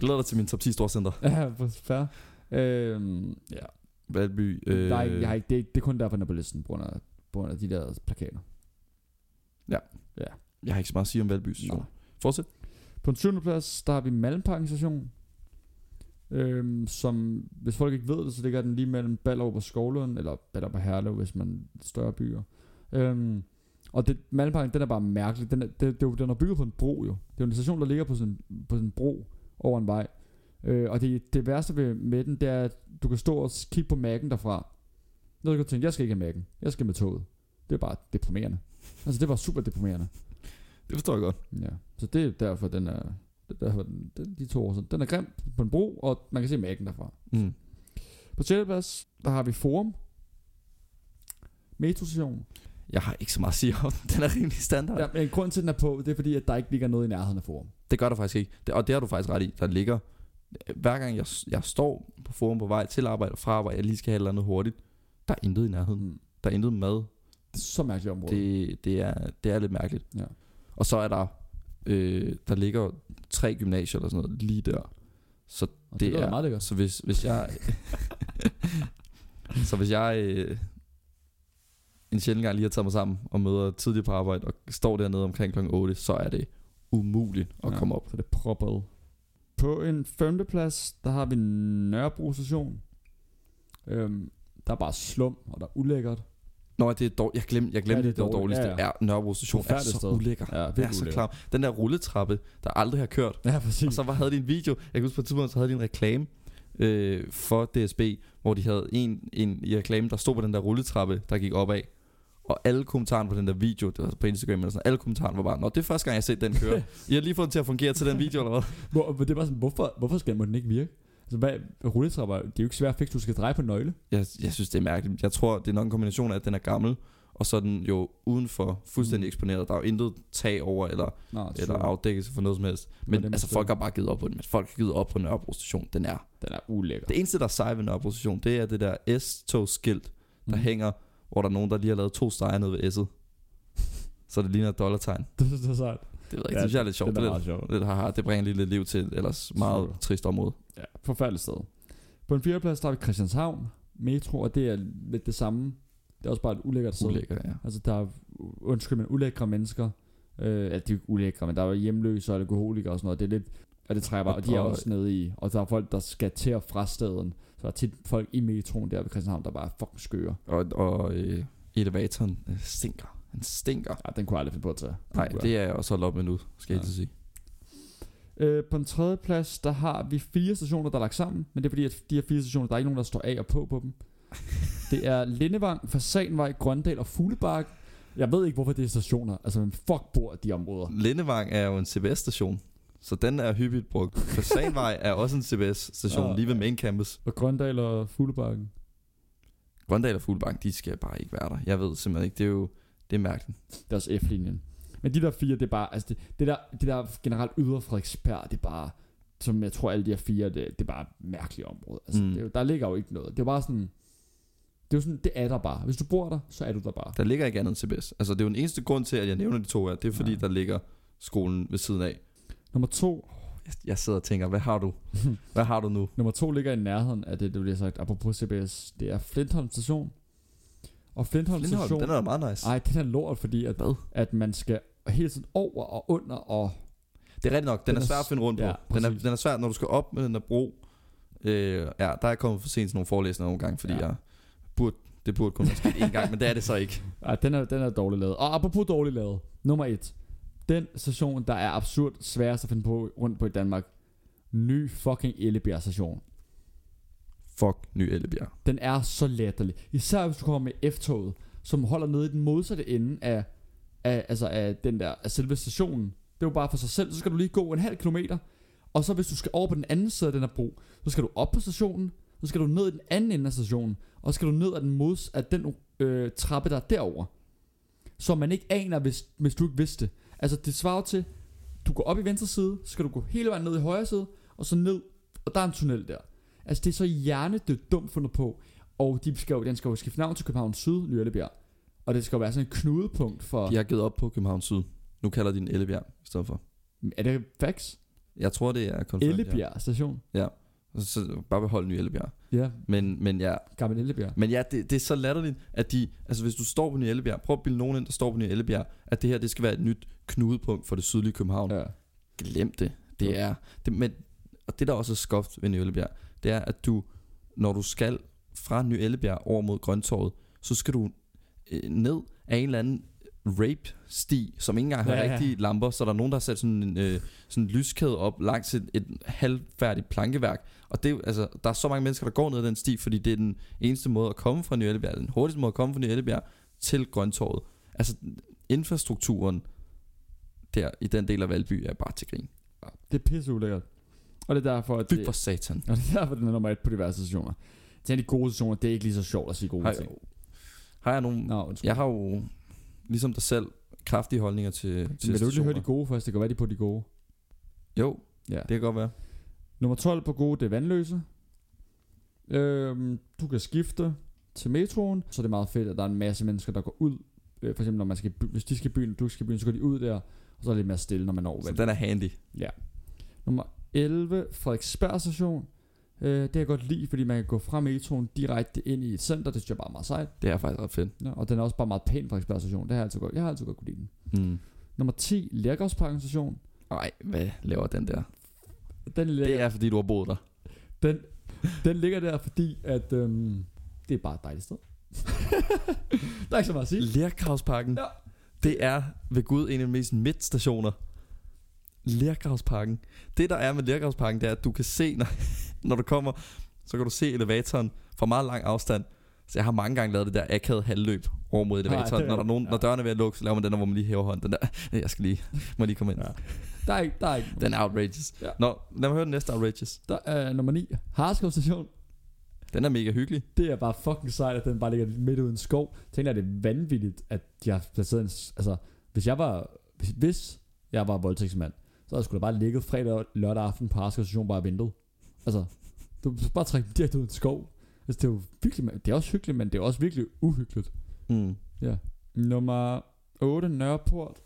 Speaker 1: Glæder dig til min top 10 storcenter.
Speaker 2: Ja, for fair. Øhm, ja.
Speaker 1: Valby.
Speaker 2: Øh, der er ikke, jeg har ikke, det, er, ikke- det er kun derfor, den er på listen, på grund af, på grund af de der plakater.
Speaker 1: jeg har ikke så meget at sige om Valby station.
Speaker 2: Nå.
Speaker 1: Fortsæt.
Speaker 2: På den syvende plads, der har vi Malmparken station. Øhm, som, hvis folk ikke ved det, så ligger den lige mellem Ballerup og Skovlund, eller Ballerup og Herlev, hvis man er større byer. Øhm, og det, Malmparken, den er bare mærkelig. Den er, det, det, er jo- den er bygget på en bro jo. Det er jo en station, der ligger på sådan, på sådan en bro over en vej. Øh, og det, det værste ved, med den, det er, at du kan stå og s- kigge på mærken derfra. Så kan du tænke, jeg skal ikke have mærken. Jeg skal med toget. Det er bare deprimerende. Altså, det var super deprimerende.
Speaker 1: Det forstår jeg godt.
Speaker 2: Ja, så det er derfor, den er... Det er derfor, den, den, de to år siden. Den er grim på en bro, og man kan se mærken derfra.
Speaker 1: Mm.
Speaker 2: På Sjælleplads, der har vi Forum. Metrostation.
Speaker 1: Jeg har ikke så meget at sige om den. Den er rimelig standard.
Speaker 2: Ja, men grunden til, den er på, det er fordi, at der ikke ligger noget i nærheden af Forum.
Speaker 1: Det gør der faktisk ikke. Det, og det har du faktisk ret i. Der ligger, hver gang jeg, jeg står på forum på vej til arbejde og fra arbejde, jeg lige skal have et eller andet hurtigt, der er intet i nærheden.
Speaker 2: Mm.
Speaker 1: Der er intet mad.
Speaker 2: Så mærkeligt område. Det...
Speaker 1: Det, det, er, det er lidt mærkeligt.
Speaker 2: Ja.
Speaker 1: Og så er der, øh, der ligger tre gymnasier eller sådan noget lige der. Så,
Speaker 2: Og det,
Speaker 1: det
Speaker 2: det er
Speaker 1: er-
Speaker 2: meget lækkert.
Speaker 1: så hvis, hvis jeg... så hvis jeg øh, en sjældent gang lige har taget mig sammen og møder tidligt på arbejde og står dernede omkring kl. 8, så er det umuligt at ja. komme op.
Speaker 2: Så det er proppet. På en femteplads, der har vi Nørrebro station. Øhm, der er bare slum, og der er ulækkert.
Speaker 1: Nå, det er dårligt. Jeg glemte, jeg glemte
Speaker 2: Ja,
Speaker 1: ja,
Speaker 2: det
Speaker 1: det,
Speaker 2: er
Speaker 1: det var
Speaker 2: dårligt.
Speaker 1: dårligste.
Speaker 2: Ja,
Speaker 1: Ja,
Speaker 2: ja.
Speaker 1: ja. Nørrebro station er
Speaker 2: Forfærdeligt
Speaker 1: så
Speaker 2: sted.
Speaker 1: ulækker.
Speaker 2: Ja,
Speaker 1: Det er så
Speaker 2: ulækkert.
Speaker 1: klar. Den der rulletrappe, der aldrig har kørt.
Speaker 2: Ja, præcis.
Speaker 1: Og så var- havde de en video. Jeg kan huske på et tidspunkt, så havde de en reklame øh, for DSB, hvor de havde en, en i reklamen, der stod på den der rulletrappe, der gik opad. Og alle kommentarerne på den der video, det var på Instagram eller sådan, alle kommentarerne var bare, Nå, det er første gang, jeg har set den køre. I har lige fået den til at fungere til den video, eller hvad?
Speaker 2: Hvor, hvor det er bare sådan, hvorfor, hvorfor skal må den ikke virke? Altså, hvad, rulletrapper, det er jo ikke svært at fikse, du skal dreje på en nøgle.
Speaker 1: Jeg, jeg synes, det er mærkeligt. Jeg tror, det er nok en kombination af, at den er gammel, og så er den jo udenfor fuldstændig
Speaker 2: Mm.
Speaker 1: eksponeret. Der er jo intet tag over, eller
Speaker 2: Nå,
Speaker 1: eller afdækkelse for noget som helst.
Speaker 2: var det,
Speaker 1: Men
Speaker 2: man
Speaker 1: altså,
Speaker 2: stod.
Speaker 1: folk har bare givet op på den. Men Folk har givet op på Nørrebro station. Den er.
Speaker 2: Den er ulækker.
Speaker 1: Det eneste, der er sej ved Nørrebro station, det er det der S-togskilt, der mm.
Speaker 2: Mhm.
Speaker 1: hænger, hvor der er nogen, der lige har lavet to streger nede ved S'et. Så det ligner et dollartegn.
Speaker 2: Det synes jeg er sejt.
Speaker 1: Det ved jeg ikke, det
Speaker 2: Ja,
Speaker 1: synes jeg er lidt sjovt.
Speaker 2: Den
Speaker 1: Det,
Speaker 2: er
Speaker 1: er
Speaker 2: meget sjovt.
Speaker 1: lidt, lidt haha, det bringer lige lidt liv til et ellers meget
Speaker 2: Super.
Speaker 1: trist område.
Speaker 2: Ja, forfærdeligt sted. På en fjerdeplads, der er vi Christianshavn, Metro, og det er lidt det samme. Det er også bare et ulækkert sted.
Speaker 1: Ulækker, ja.
Speaker 2: Altså, der er, undskyld, men ulækre mennesker. Øh, altså, de er jo ikke ulækre, men der er jo hjemløse og alkoholikere og sådan noget. Det er lidt, og det trækker bare,
Speaker 1: Og-
Speaker 2: og de er
Speaker 1: og-
Speaker 2: også nede i. Og der er folk, der skal til og fra staden. Så der er tit folk i metroen der ved Christianshavn, der bare er fucking skøre.
Speaker 1: Og, og øh, elevatoren øh, stinker. Den stinker.
Speaker 2: Ja, Ah, den kunne jeg aldrig finde på at tage.
Speaker 1: Nej,
Speaker 2: Puh, ja.
Speaker 1: det er jeg også holdt op med nu, skal jeg
Speaker 2: Ja.
Speaker 1: ja. sige.
Speaker 2: Øh, på den tredje plads, der har vi fire stationer, der er lagt sammen. Men det er fordi, at de her fire stationer, der er ikke nogen, der står af og på på dem. Det er Lindevang, Fasanvej, Grøndal og Fuglebakke. Jeg ved ikke, hvorfor det er stationer. Altså, hvem fuck bor i de områder?
Speaker 1: Lindevang er jo en CBS-station, så den er hyppigt brugt. Fasanvej er også en CBS-station
Speaker 2: Åh.
Speaker 1: lige ved main campus.
Speaker 2: Og Grøndal og Fuglebakken.
Speaker 1: Grøndal og Fuglebank, de skal bare ikke være der. Jeg ved simpelthen ikke, det er jo, det er mærkeligt.
Speaker 2: Det er også F-linjen. Men de der fire, det er bare, altså det, det, der, det der generelt ydre Frederiksberg, det er bare, som jeg tror alle de her fire, det, det er bare et mærkeligt område. Altså, mm.
Speaker 1: Mm.
Speaker 2: det, er jo- der ligger jo ikke noget. Det er bare sådan, det er jo sådan, det er der bare. Hvis du bor der, så er du der bare.
Speaker 1: Der ligger ikke andet end CBS. Altså, det er jo den eneste grund til, at jeg nævner de to her. Det er fordi,
Speaker 2: Nej.
Speaker 1: der ligger skolen ved siden af.
Speaker 2: Nummer to,
Speaker 1: jeg, jeg sidder og tænker, hvad har du? Hvad har du nu?
Speaker 2: Nummer to ligger i nærheden af det, der bliver sagt, apropos CBS. Det er Flintholm station. Og Flintholm,
Speaker 1: Lindholm,
Speaker 2: station...
Speaker 1: den er da meget nice.
Speaker 2: Ej, den er lort, fordi at,
Speaker 1: Hvad?
Speaker 2: at man skal hele tiden over og under og...
Speaker 1: Det er rigtigt nok. Den, den
Speaker 2: Den
Speaker 1: er
Speaker 2: er
Speaker 1: svær at
Speaker 2: s-
Speaker 1: finde rundt på.
Speaker 2: ja,
Speaker 1: den, er,
Speaker 2: præcis.
Speaker 1: den er svær, når du skal op med den der bro. Øh, ja, der er jeg kommet for sent til nogle forelæsninger nogle gange, fordi ja.
Speaker 2: Ja.
Speaker 1: jeg burde, det burde kun være sket én gang, men det er det så ikke.
Speaker 2: Ej, den er, den er dårligt lavet. Og apropos dårligt lavet. Nummer et. Den station, der er absurd sværest at finde på rundt på i Danmark. Ny fucking Ellebjerg station.
Speaker 1: Fuck, ny Ellebjerg.
Speaker 2: Den er så latterlig. Især hvis du kommer med F-toget, som holder nede i den modsatte ende af, af, altså af, den der, af selve stationen. Det er jo bare for sig selv. Så skal du lige gå en halv kilometer. Og så hvis du skal over på den anden side af den her bro, så skal du op på stationen. Så skal du ned i den anden ende af stationen. Og så skal du ned af den mods af den øh, trappe, der er derovre. Som man ikke aner, hvis, hvis du ikke vidste det. Altså det svarer jo til, du går op i venstre side, så skal du gå hele vejen ned i højre side, og så ned, og der er en tunnel der. Altså det er så hjernedødt dumt fundet på Og de skal jo, den skal jo skifte navn til København Syd Ny Ellebjerg Og det skal jo være sådan et knudepunkt for
Speaker 1: De
Speaker 2: ja.
Speaker 1: har givet op på København Syd. Nu kalder de den Ellebjerg i stedet for.
Speaker 2: Er det facts?
Speaker 1: Jeg tror, det er konfirmt.
Speaker 2: Ellebjerg station
Speaker 1: Ja. Så- Så bare behold ny Ellebjerg.
Speaker 2: Ja,
Speaker 1: Men, men ja,
Speaker 2: gammel Ellebjerg
Speaker 1: men ja det, det, er så latterligt, at de... Altså, hvis du står på Ny Ellebjerg, prøv at bilde nogen ind, der står på Ny Ellebjerg, at det her, det skal være et nyt knudepunkt for det sydlige København.
Speaker 2: ja.
Speaker 1: Glem det. Det er... Det, men, og det, der også er skoft ved Ny Ellebjerg, det er, at du, når du skal fra Ny Ellebjerg over mod Grøntorvet, så skal du øh, ned af en eller anden rape-sti, som ikke engang har
Speaker 2: Ja,
Speaker 1: ja,
Speaker 2: ja.
Speaker 1: rigtige lamper, så der er nogen, der har sat sådan en, øh, sådan en lyskæde op langs et, et halvfærdigt plankeværk. Og det, er jo- altså, der er så mange mennesker, der går ned ad den sti, fordi det er den eneste måde at komme fra Ny Ellebjerg, den hurtigste måde at komme fra Ny Ellebjerg til Grøntorvet. Altså, infrastrukturen der i den del af Valby er bare til grin.
Speaker 2: Det er pisse ulækkert Og det er derfor at
Speaker 1: Fy
Speaker 2: det,
Speaker 1: for satan.
Speaker 2: Og det er derfor den er nummer et på diverse stationer Så de gode stationer Det er ikke lige så sjovt at sige gode
Speaker 1: Har,
Speaker 2: ting
Speaker 1: har jeg nogen...
Speaker 2: Nå, undskyld
Speaker 1: Jeg har jo, ligesom dig selv, kraftige holdninger til, til
Speaker 2: Men vil du ikke lige
Speaker 1: stationer.
Speaker 2: høre de gode først Det kan være de er på de gode
Speaker 1: Jo,
Speaker 2: Ja
Speaker 1: det kan godt være.
Speaker 2: Nummer 12 på gode, det er vandløse. Øhm, du kan skifte til metroen, så det er meget fedt, at der er en masse mennesker, der går ud. Øh, for eksempel, når man skal i by- hvis de skal i byen, og du skal i byen, så går de ud der, og så er det lidt mere stille, når man når
Speaker 1: Så
Speaker 2: vel.
Speaker 1: den er handy.
Speaker 2: Nummer 11, Frederiksberg station. Øh, det kan jeg godt lide, fordi man kan gå fra metroen direkte ind i et center, det synes jeg bare er meget sejt.
Speaker 1: Det er faktisk ret fedt.
Speaker 2: Ja, og den er også bare meget pæn, Frederiksberg station. Det har jeg altid godt, jeg har altid godt kunne lide den.
Speaker 1: Mm.
Speaker 2: Nummer 10, Lærgårdsparken station.
Speaker 1: Ej, hvad laver den der?
Speaker 2: Den,
Speaker 1: Det
Speaker 2: ligger,
Speaker 1: er, fordi du har boet der.
Speaker 2: den, den ligger der, fordi at, øhm, det er bare et dejligt sted. der er ikke så meget at sige.
Speaker 1: Lerkravsparken.
Speaker 2: Ja.
Speaker 1: Det er ved Gud en af de mest midtstationer. Lerkravsparken. Det der er med Lerkravsparken, det er, at du kan se, når, når du kommer, så kan du se elevatoren fra meget lang afstand. Så jeg har mange gange lavet det der akavet halvløb over mod elevatoren.
Speaker 2: det er-
Speaker 1: når, der er nogen,
Speaker 2: ja.
Speaker 1: når dørene er ved at lukke, så laver man den der, hvor man lige hæver hånden. Den der, jeg skal lige, må lige komme ind.
Speaker 2: Ja. Der er ikke, der er ikke.
Speaker 1: Den er outrageous.
Speaker 2: Ja.
Speaker 1: Nå, lad mig høre den næste outrageous.
Speaker 2: Der er øh, nummer 9, Harskov station.
Speaker 1: Den er mega hyggelig.
Speaker 2: Det er bare fucking sejt, at den bare ligger midt uden skov. Tænk dig, det er vanvittigt, at de har placeret en... s- Altså, hvis jeg var... Hvis, hvis jeg var voldtægtsmand, så havde jeg skulle da bare ligget fredag og lørdag aften på Harskov station bare og ventet. Altså, du skal bare trække dem direkte ud i en skov. Altså, det er jo virkelig, det er også hyggeligt, men det er også virkelig uhyggeligt.
Speaker 1: Mm.
Speaker 2: Nummer 8, Nørreport,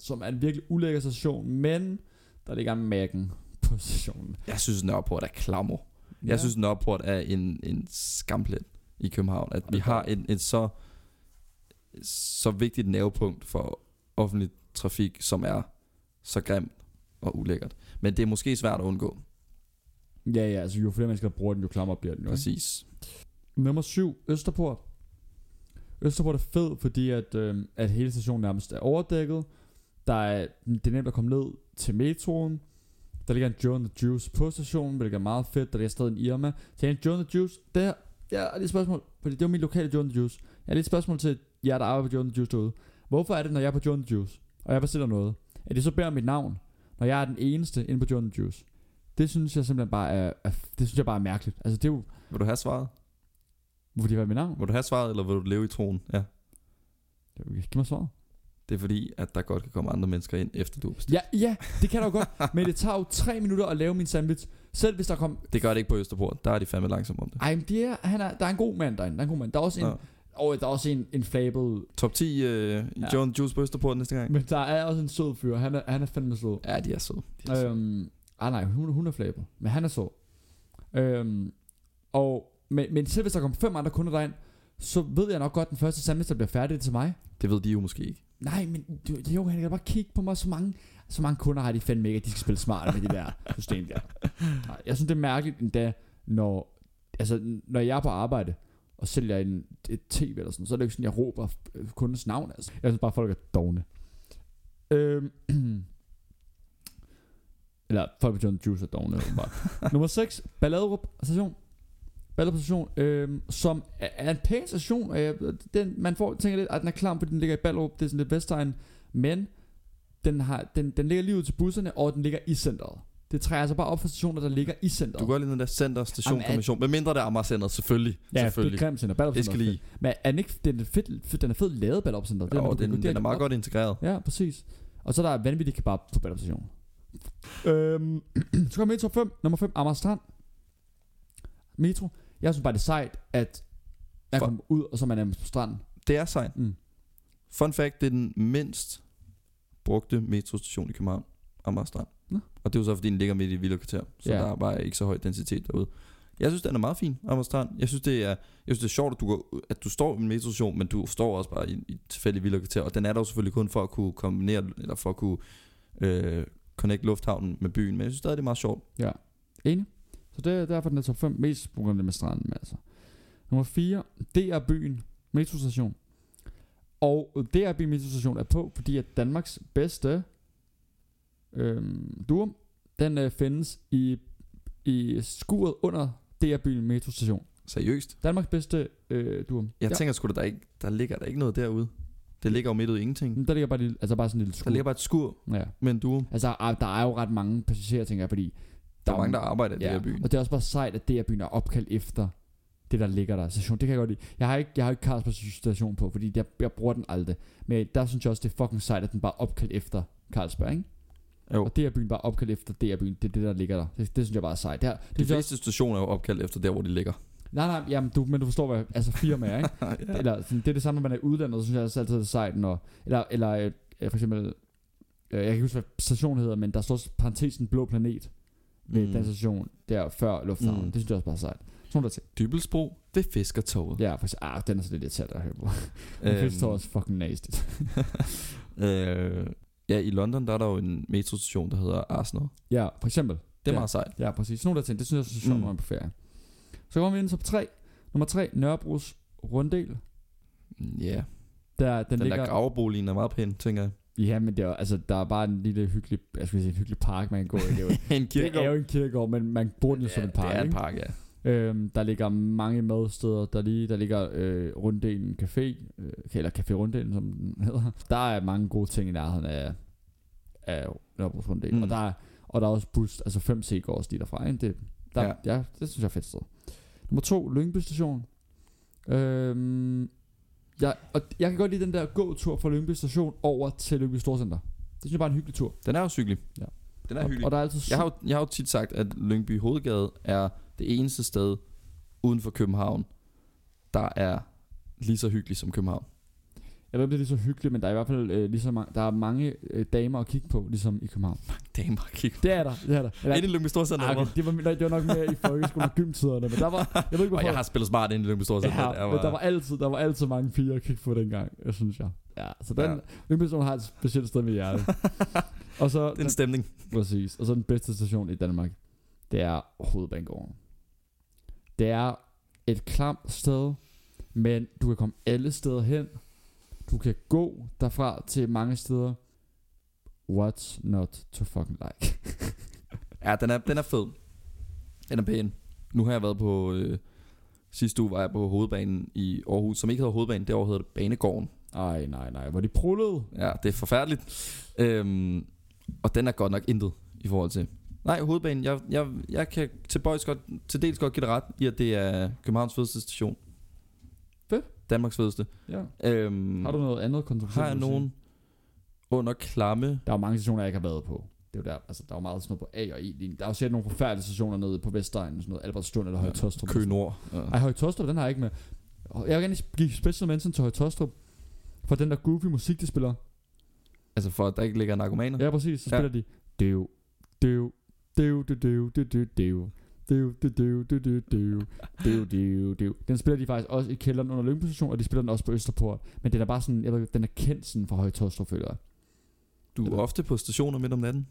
Speaker 2: som er en virkelig ulækker station, men der ligger en mærken på stationen.
Speaker 1: Jeg synes, Nørreport er klammer. Jeg ja. synes, Nørreport er en, en skamplet i København. At
Speaker 2: Og
Speaker 1: vi
Speaker 2: det er
Speaker 1: har
Speaker 2: godt.
Speaker 1: en, et så, så vigtigt nervepunkt for offentlig trafik, som er så grimt og ulækkert. Men det er måske svært at undgå.
Speaker 2: Ja, ja, altså jo flere mennesker, der bruger den, jo klammere bliver den. jo, ikke?
Speaker 1: Præcis.
Speaker 2: Nummer 7, Østerport. Østerport er fed, fordi at, øh, at hele stationen nærmest er overdækket. Der er, det er nemt at komme ned til metroen. Der ligger en Joe and the Juice på stationen, hvilket er meget fedt. Der ligger stadig en Irma. Så en Joe and the Juice, der jeg har lige et spørgsmål, fordi det var min lokale Joe and the Juice. Jeg har lige et spørgsmål til jer, der arbejder på Joe and the Juice derude. Hvorfor er det, når jeg er på Joe and the Juice, og jeg bestiller noget, at de så beder om mit navn, når jeg er den eneste inde på Joe and the Juice? Det synes jeg simpelthen bare er, er det synes jeg bare er mærkeligt. Altså det er jo,
Speaker 1: Vil du have svaret?
Speaker 2: hvorfor de har mit navn?
Speaker 1: Vil du have svaret, eller vil du leve i troen? Ja.
Speaker 2: Giv mig svaret.
Speaker 1: Det er fordi, at der godt kan komme andre mennesker ind, efter du har bestilt.
Speaker 2: Ja, ja, det kan du godt, men det tager jo tre minutter at lave min sandwich. Selv hvis der kom...
Speaker 1: Det gør det ikke på Østerport. Der er de fandme langsomme om det.
Speaker 2: Ej, men det er, han er, der er en god mand derinde. Der er en god mand. Der er også en,
Speaker 1: Nå.
Speaker 2: og der er også en, en flabel...
Speaker 1: Top 10 øh,
Speaker 2: Ja.
Speaker 1: John Juice på Østerport næste gang.
Speaker 2: Men der er også en sød fyr. Han er, han er fandme sød.
Speaker 1: Ja, de er søde. De er søde.
Speaker 2: Øhm, Ah nej, hun, hun er flabet. Men han er så. Øhm, og, men, men selv hvis der kommer fem andre kunder derind, så ved jeg nok godt, at den første sandwich, der bliver færdig, det er til mig.
Speaker 1: Det ved de jo måske ikke.
Speaker 2: Nej, men du- jo, han kan bare kigge på mig. Så mange, så mange kunder har de fandme ikke, at de skal spille smart med det der system der. Nej, jeg synes, det er mærkeligt endda, når, altså, når jeg er på arbejde, og sælger en, et tv eller sådan, så er det jo ikke sådan, jeg råber øh, kundens navn. Altså. Jeg synes bare, folk er dogne. Øhm, eller folk på John Juice er dogne, åbenbart. Nummer 6, Balladerup station. Ballerup station, øhm, som er- er en pæn station. og jeg- Den, man får, tænker lidt, at den er klam, fordi den ligger i Ballerup. Det er sådan lidt Vestegn. Men den, har, den, den ligger lige ud til busserne, og den ligger i centret. Det træder altså bare op for stationer, der ligger i centret.
Speaker 1: Du går lige ned der center, station,
Speaker 2: Jamen, er-
Speaker 1: kommission. Med mindre der er Amager Center, selvfølgelig.
Speaker 2: Ja, det er
Speaker 1: selvfølgelig.
Speaker 2: grimt center. Ballerup
Speaker 1: Det
Speaker 2: Center
Speaker 1: skal
Speaker 2: er
Speaker 1: lige.
Speaker 2: fedt. Men er den, ikke, den, er fedt, fedt- den er fedt lavet Ballerup Center.
Speaker 1: Jo,
Speaker 2: man kan gå
Speaker 1: den, den
Speaker 2: direkte
Speaker 1: er meget
Speaker 2: op.
Speaker 1: godt integreret.
Speaker 2: Ja, præcis. Og så er der vanvittig kebab på Ballerup Station. Øhm, så kommer metro 5. Nummer 5, Amager Strand. Metro. Jeg synes bare, det er sejt, at jeg
Speaker 1: For-
Speaker 2: kommer ud, og så er man nærmest på stranden.
Speaker 1: Det er sejt.
Speaker 2: Mm.
Speaker 1: Fun fact, det er den mindst brugte metrostation i København, Amager Strand.
Speaker 2: Nå.
Speaker 1: Og det er jo så, fordi den ligger midt i Vildekvarter, så
Speaker 2: Ja.
Speaker 1: der er bare ikke så høj densitet derude. Jeg synes, den er meget fin, Amager Strand. Jeg synes, det er, jeg synes, det er sjovt, at du, går, at du står i en metrostation, men du står også bare i, i et tilfældigt Vildekvarter. Og den er der jo selvfølgelig kun for at kunne kombinere, eller for at kunne øh, connect lufthavnen med byen. Men jeg synes stadig, det er meget sjovt.
Speaker 2: Enig? Så det er derfor, den er top 5 mest problemet med stranden. Altså. Nummer 4, det er byen. Metrostation. Og det er byen metrostation er på, fordi at Danmarks bedste øhm, durum, den øh, findes i, i skuret under DR byen metrostation.
Speaker 1: Seriøst.
Speaker 2: Danmarks bedste øh, durum.
Speaker 1: Jeg ja. tænker sgu da, der, ikke, der ligger der ikke noget derude. Det ligger jo midt ud i ingenting.
Speaker 2: Men Der ligger bare, et lille, altså bare sådan en lille
Speaker 1: Der
Speaker 2: skur.
Speaker 1: ligger bare et skur
Speaker 2: Ja.
Speaker 1: med en duo.
Speaker 2: Altså, ah, der er jo ret mange passagerer, tænker jeg, fordi...
Speaker 1: Der er mange, der arbejder i ja. det her byen.
Speaker 2: Og det er også bare sejt, at det her byen er opkaldt efter det, der ligger der. Station, det kan jeg godt lide. Jeg har ikke, jeg har ikke Carlsberg station på, fordi jeg, jeg bruger den aldrig. Men der synes jeg også, det er fucking sejt, at den bare er opkaldt efter Carlsberg, ikke?
Speaker 1: Jo.
Speaker 2: Og det her byen bare er opkaldt efter det her byen. Det er det, der ligger der. Det, det synes jeg bare er sejt. Det, her, det,
Speaker 1: De
Speaker 2: synes jeg også,
Speaker 1: fleste stationer er jo opkaldt efter der, hvor de ligger.
Speaker 2: nej, nej, jamen, du, men du forstår, hvad altså firmaer, ikke? ja. Eller sådan, det er det samme, når man er i udlandet, så synes jeg også altid, det er sejt, når, eller, eller øh, øh, for eksempel, øh, jeg kan ikke huske, hvad stationen hedder, men der står også parentesen blå planet ved mm. den station der før lufthavnen.
Speaker 1: Mm.
Speaker 2: Mm. Det synes jeg også bare er sejt. Sådan nogle der ting.
Speaker 1: Dybelsbro ved Fiskertoget.
Speaker 2: Ja, for eksempel, ah, den er så lidt irriterende at høre på. Men
Speaker 1: Øhm,
Speaker 2: øhm. står også fucking nasty.
Speaker 1: øh, ja, i London, der er der jo en metrostation, der hedder Arsenal.
Speaker 2: ja, for eksempel.
Speaker 1: Det er
Speaker 2: Ja.
Speaker 1: meget sejt.
Speaker 2: Ja, præcis. Sådan nogle der ting. Det synes jeg også er
Speaker 1: Mm.
Speaker 2: sjovt, mm. når man er på ferie. Så kommer vi ind til top 3. Nummer 3, Nørrebros Runddel.
Speaker 1: Mm, Ja,
Speaker 2: Der, den,
Speaker 1: den, den
Speaker 2: ligger,
Speaker 1: der graveboligen er meget pæn, tænker jeg.
Speaker 2: Ja, men det er, jo- altså, der er bare en lille hyggelig, jeg skulle sige, en hyggelig park, man kan gå i. Det er jo
Speaker 1: en
Speaker 2: Det er jo en kirkegård, men man bruger den jo som en park.
Speaker 1: Det er en
Speaker 2: ikke?
Speaker 1: park, ja.
Speaker 2: Øhm, der ligger mange madsteder. Der, lige, der ligger øh, Runddelen Café, øh, eller Café Runddelen, som den hedder. Der er mange gode ting i nærheden af, af Nørrebros Runddelen.
Speaker 1: Mm.
Speaker 2: Mm. Og, der er, og der er også bus, altså 5 C går også lige derfra. Ikke? Det, der,
Speaker 1: Ja.
Speaker 2: ja. ja. det synes jeg er fedt sted. Nummer to, Lyngby Station. Øhm, jeg, og jeg kan godt lide den der gåtur fra Lyngby Station over til Lyngby Storcenter. Det synes jeg bare er en hyggelig tur.
Speaker 1: Den er jo cyklig.
Speaker 2: Ja.
Speaker 1: Den er
Speaker 2: og,
Speaker 1: hyggelig.
Speaker 2: og der er altid
Speaker 1: Jeg har, jo, jeg har jo tit sagt, at Lyngby Hovedgade er det eneste sted uden for København, der er lige så hyggeligt som København.
Speaker 2: Jeg ved ikke, om det er lige så hyggeligt, men der er i hvert fald øh, lige så mange, der er mange øh, damer at kigge på, ligesom i København.
Speaker 1: Damn, kig.
Speaker 2: Det er der, det er der.
Speaker 1: Ind i Lyngby Storcenter.
Speaker 2: ah, okay,
Speaker 1: hvor-
Speaker 2: det, var, nej, det var nok mere i folkeskolen og gymtiderne, men der var, jeg ved ikke
Speaker 1: Og
Speaker 2: hvorfor.
Speaker 1: jeg har spillet smart ind i Lyngby Storcenter.
Speaker 2: ja, men der var, altid, der var altid mange piger at kigge på dengang, jeg synes jeg. Ja, så den,
Speaker 1: Ja.
Speaker 2: ja. Lyngby har et specielt sted med hjertet. og så,
Speaker 1: Det er en stemning.
Speaker 2: Præcis. Og så den bedste station i Danmark, det er Hovedbanegården. Det er et klamt sted, men du kan komme alle steder hen. Du kan gå derfra til mange steder. What's not to fucking like?
Speaker 1: Ja, den er, den er fed. Den er pæn. Nu har jeg været på... Øh, sidste uge var jeg på hovedbanen i Aarhus, som ikke hedder hovedbanen, derovre hedder det Banegården.
Speaker 2: Ej, nej, nej. Hvor de prullede.
Speaker 1: Ja, det er forfærdeligt. Øhm, og den er godt nok intet i forhold til... Nej, hovedbanen, jeg, jeg, jeg kan til, boys godt, til dels godt give det ret i, at det er Københavns fedeste station.
Speaker 2: Fedt.
Speaker 1: Danmarks fedeste.
Speaker 2: Ja.
Speaker 1: Øhm,
Speaker 2: Har du noget andet kontroversielt?
Speaker 1: har jeg
Speaker 2: du vil
Speaker 1: nogen
Speaker 2: sige?
Speaker 1: under klamme
Speaker 2: Der er jo mange stationer, jeg ikke har været på. Det er jo der, altså, der er jo meget sådan noget på A og E. Der er jo sikkert nogle forfærdelige stationer nede på Vestegnen, sådan noget Albertslund eller Høje Tostrup.
Speaker 1: Køge Nord?
Speaker 2: Ej, Høje Tostrup, den har jeg ikke med. Jeg vil gerne give special mention til Høje Tostrup. For den der goofy musik, de spiller.
Speaker 1: Altså for at der ikke ligger narkomaner?
Speaker 2: Ja, præcis. Så
Speaker 1: Ja.
Speaker 2: spiller de. Det er jo, det er jo, Dev, dev, dev, dev, dev, dev. Dev, dev, dev, dev, dev, dev. Dev, dev, dev. Den spiller de faktisk også i kælderen under Lyngby Station, og de spiller den også på Østerport. Men den er bare sådan, jeg ved, ikke, den er kendt sådan for Høje Tostrup, føler jeg.
Speaker 1: Du er
Speaker 2: Eller-
Speaker 1: ofte på stationer midt om natten.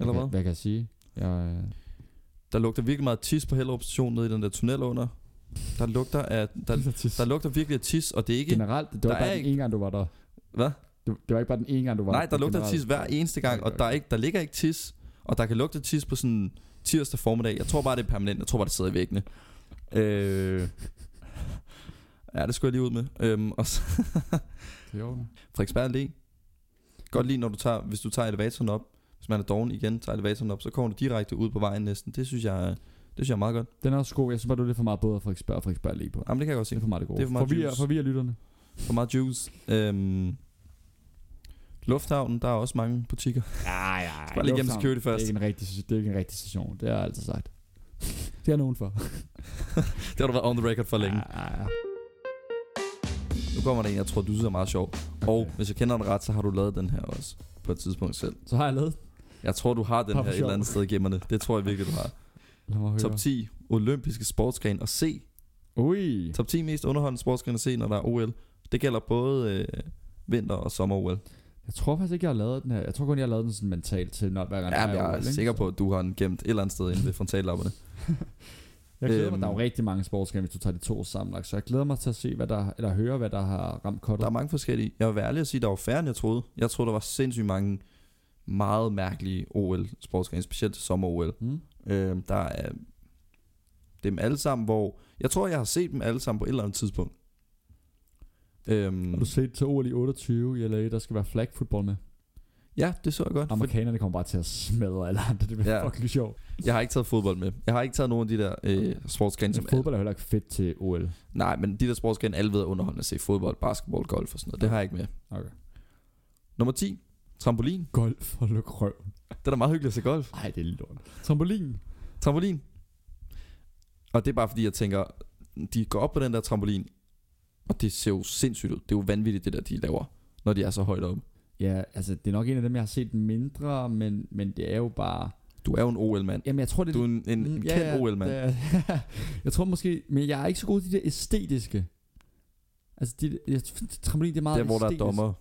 Speaker 1: Eller
Speaker 2: hvad?
Speaker 1: hvad?
Speaker 2: Hvad kan jeg sige? Jeg, øh,
Speaker 1: Der lugter virkelig meget tis på Hellerup station nede i den der tunnel under. Der lugter af, der, der lugter virkelig af tis, og det er ikke...
Speaker 2: generelt, det var
Speaker 1: Der
Speaker 2: bare
Speaker 1: er
Speaker 2: den
Speaker 1: ikke-
Speaker 2: ene gang, du var der.
Speaker 1: Hvad?
Speaker 2: Det, det var ikke bare den ene gang, du var
Speaker 1: Nej, der lugter af
Speaker 2: generelt.
Speaker 1: tis hver eneste gang,
Speaker 2: Nej, det
Speaker 1: og
Speaker 2: gør
Speaker 1: der, er
Speaker 2: ikke.
Speaker 1: ikke, der ligger ikke tis, og der kan lugte tis på sådan tirsdag formiddag. Jeg tror bare, det er permanent. Jeg tror bare, det sidder i væggene. Øh... Ja, det skulle jeg lige ud med. Øhm, og så
Speaker 2: Det er i orden.
Speaker 1: Frederiksberg Allé. Godt lige, når du tager, hvis du tager elevatoren op, hvis man er doven igen, tager elevatoren op, så kommer du direkte ud på vejen næsten. Det synes jeg, det synes jeg er meget godt.
Speaker 2: Den er også god. Jeg synes bare, du er lidt for meget både Frederiksberg og Frederiksberg lige på.
Speaker 1: Jamen, det kan jeg godt
Speaker 2: Det er
Speaker 1: se.
Speaker 2: for meget det gode.
Speaker 1: Det er for meget
Speaker 2: forvirrer,
Speaker 1: juice.
Speaker 2: forvirrer lytterne.
Speaker 1: For meget juice. Øhm, Lufthavnen, der er også mange butikker.
Speaker 2: Ja, ja.
Speaker 1: Bare lige gennem security
Speaker 2: Det er
Speaker 1: først.
Speaker 2: ikke en rigtig, det er ikke en rigtig station. Det har jeg altid sagt. det er nogen for.
Speaker 1: Det har du været on the record for længe.
Speaker 2: Ja, ja, ja.
Speaker 1: Nu kommer der en, jeg tror, du synes er meget sjov. Og
Speaker 2: Okay.
Speaker 1: hvis jeg kender den ret, så har du lavet den her også på et tidspunkt selv.
Speaker 2: Så har jeg lavet.
Speaker 1: Jeg tror, du har den
Speaker 2: Bare
Speaker 1: her
Speaker 2: for
Speaker 1: et eller
Speaker 2: sjov.
Speaker 1: andet sted i gemmerne. Det tror jeg virkelig, du har.
Speaker 2: Lad mig høre.
Speaker 1: Top 10 olympiske sportsgren at se.
Speaker 2: Ui.
Speaker 1: Top 10 mest underholdende sportsgren at se, når der er OL. Det gælder både øh, vinter- og sommer-OL.
Speaker 2: Jeg tror faktisk ikke, jeg har lavet den her. Jeg tror kun, jeg har lavet den sådan mentalt til, når hver gang
Speaker 1: Ja,
Speaker 2: der
Speaker 1: men jeg
Speaker 2: OL,
Speaker 1: er
Speaker 2: ikke?
Speaker 1: sikker på, at du har den gemt et eller andet sted inde ved frontallapperne.
Speaker 2: Jeg glæder mig,
Speaker 1: Øhm.
Speaker 2: der er jo rigtig mange sportsgames, hvis du tager de to sammen. lagt, Så jeg glæder mig til at se, hvad der, eller høre, hvad der har ramt
Speaker 1: Der
Speaker 2: kottet.
Speaker 1: er mange forskellige. Jeg vil være ærlig at sige, at der var færre, end jeg troede. Jeg troede, der var sindssygt mange meget mærkelige OL-sportsgrene, specielt sommer-OL.
Speaker 2: Hmm?
Speaker 1: Øh, der er dem alle sammen, hvor... Jeg tror, jeg har set dem alle sammen på et eller andet tidspunkt.
Speaker 2: Har
Speaker 1: Øhm,
Speaker 2: du set til OL i 28 i LA, der skal være flag football med?
Speaker 1: ja, det så jeg godt. For
Speaker 2: Amerikanerne kommer bare til at smadre alle andre. Det bliver
Speaker 1: Ja.
Speaker 2: fucking sjovt.
Speaker 1: jeg har ikke taget fodbold med. Jeg har ikke taget nogen af de der øh, sportsgrene, som
Speaker 2: Men fodbold er heller ikke fedt til OL.
Speaker 1: Nej, men de der sportsgrene, alle ved er underholdende at se. Fodbold, basketball, golf og sådan noget. Det har jeg ikke med.
Speaker 2: Okay.
Speaker 1: Nummer 10. Trampolin.
Speaker 2: Golf og luk røv.
Speaker 1: Det er da meget hyggeligt at se golf.
Speaker 2: Ej, det er lort. Trampolin.
Speaker 1: Trampolin. Og det er bare fordi, jeg tænker, de går op på den der trampolin, og det ser jo sindssygt ud. Det er jo vanvittigt, det der, de laver, når de er så højt oppe.
Speaker 2: Ja, altså det er nok en af dem, jeg har set mindre, men, men det er jo bare...
Speaker 1: Du er jo en OL-mand.
Speaker 2: Jamen jeg tror, det
Speaker 1: Du er en, en, en
Speaker 2: Mm,
Speaker 1: kendt OL-mand.
Speaker 2: det er- jeg tror måske... Men jeg er ikke så god til det æstetiske. Altså, det, jeg, synes, trampolin, det er meget
Speaker 1: Der, hvor der er
Speaker 2: æstetisk.
Speaker 1: dommer,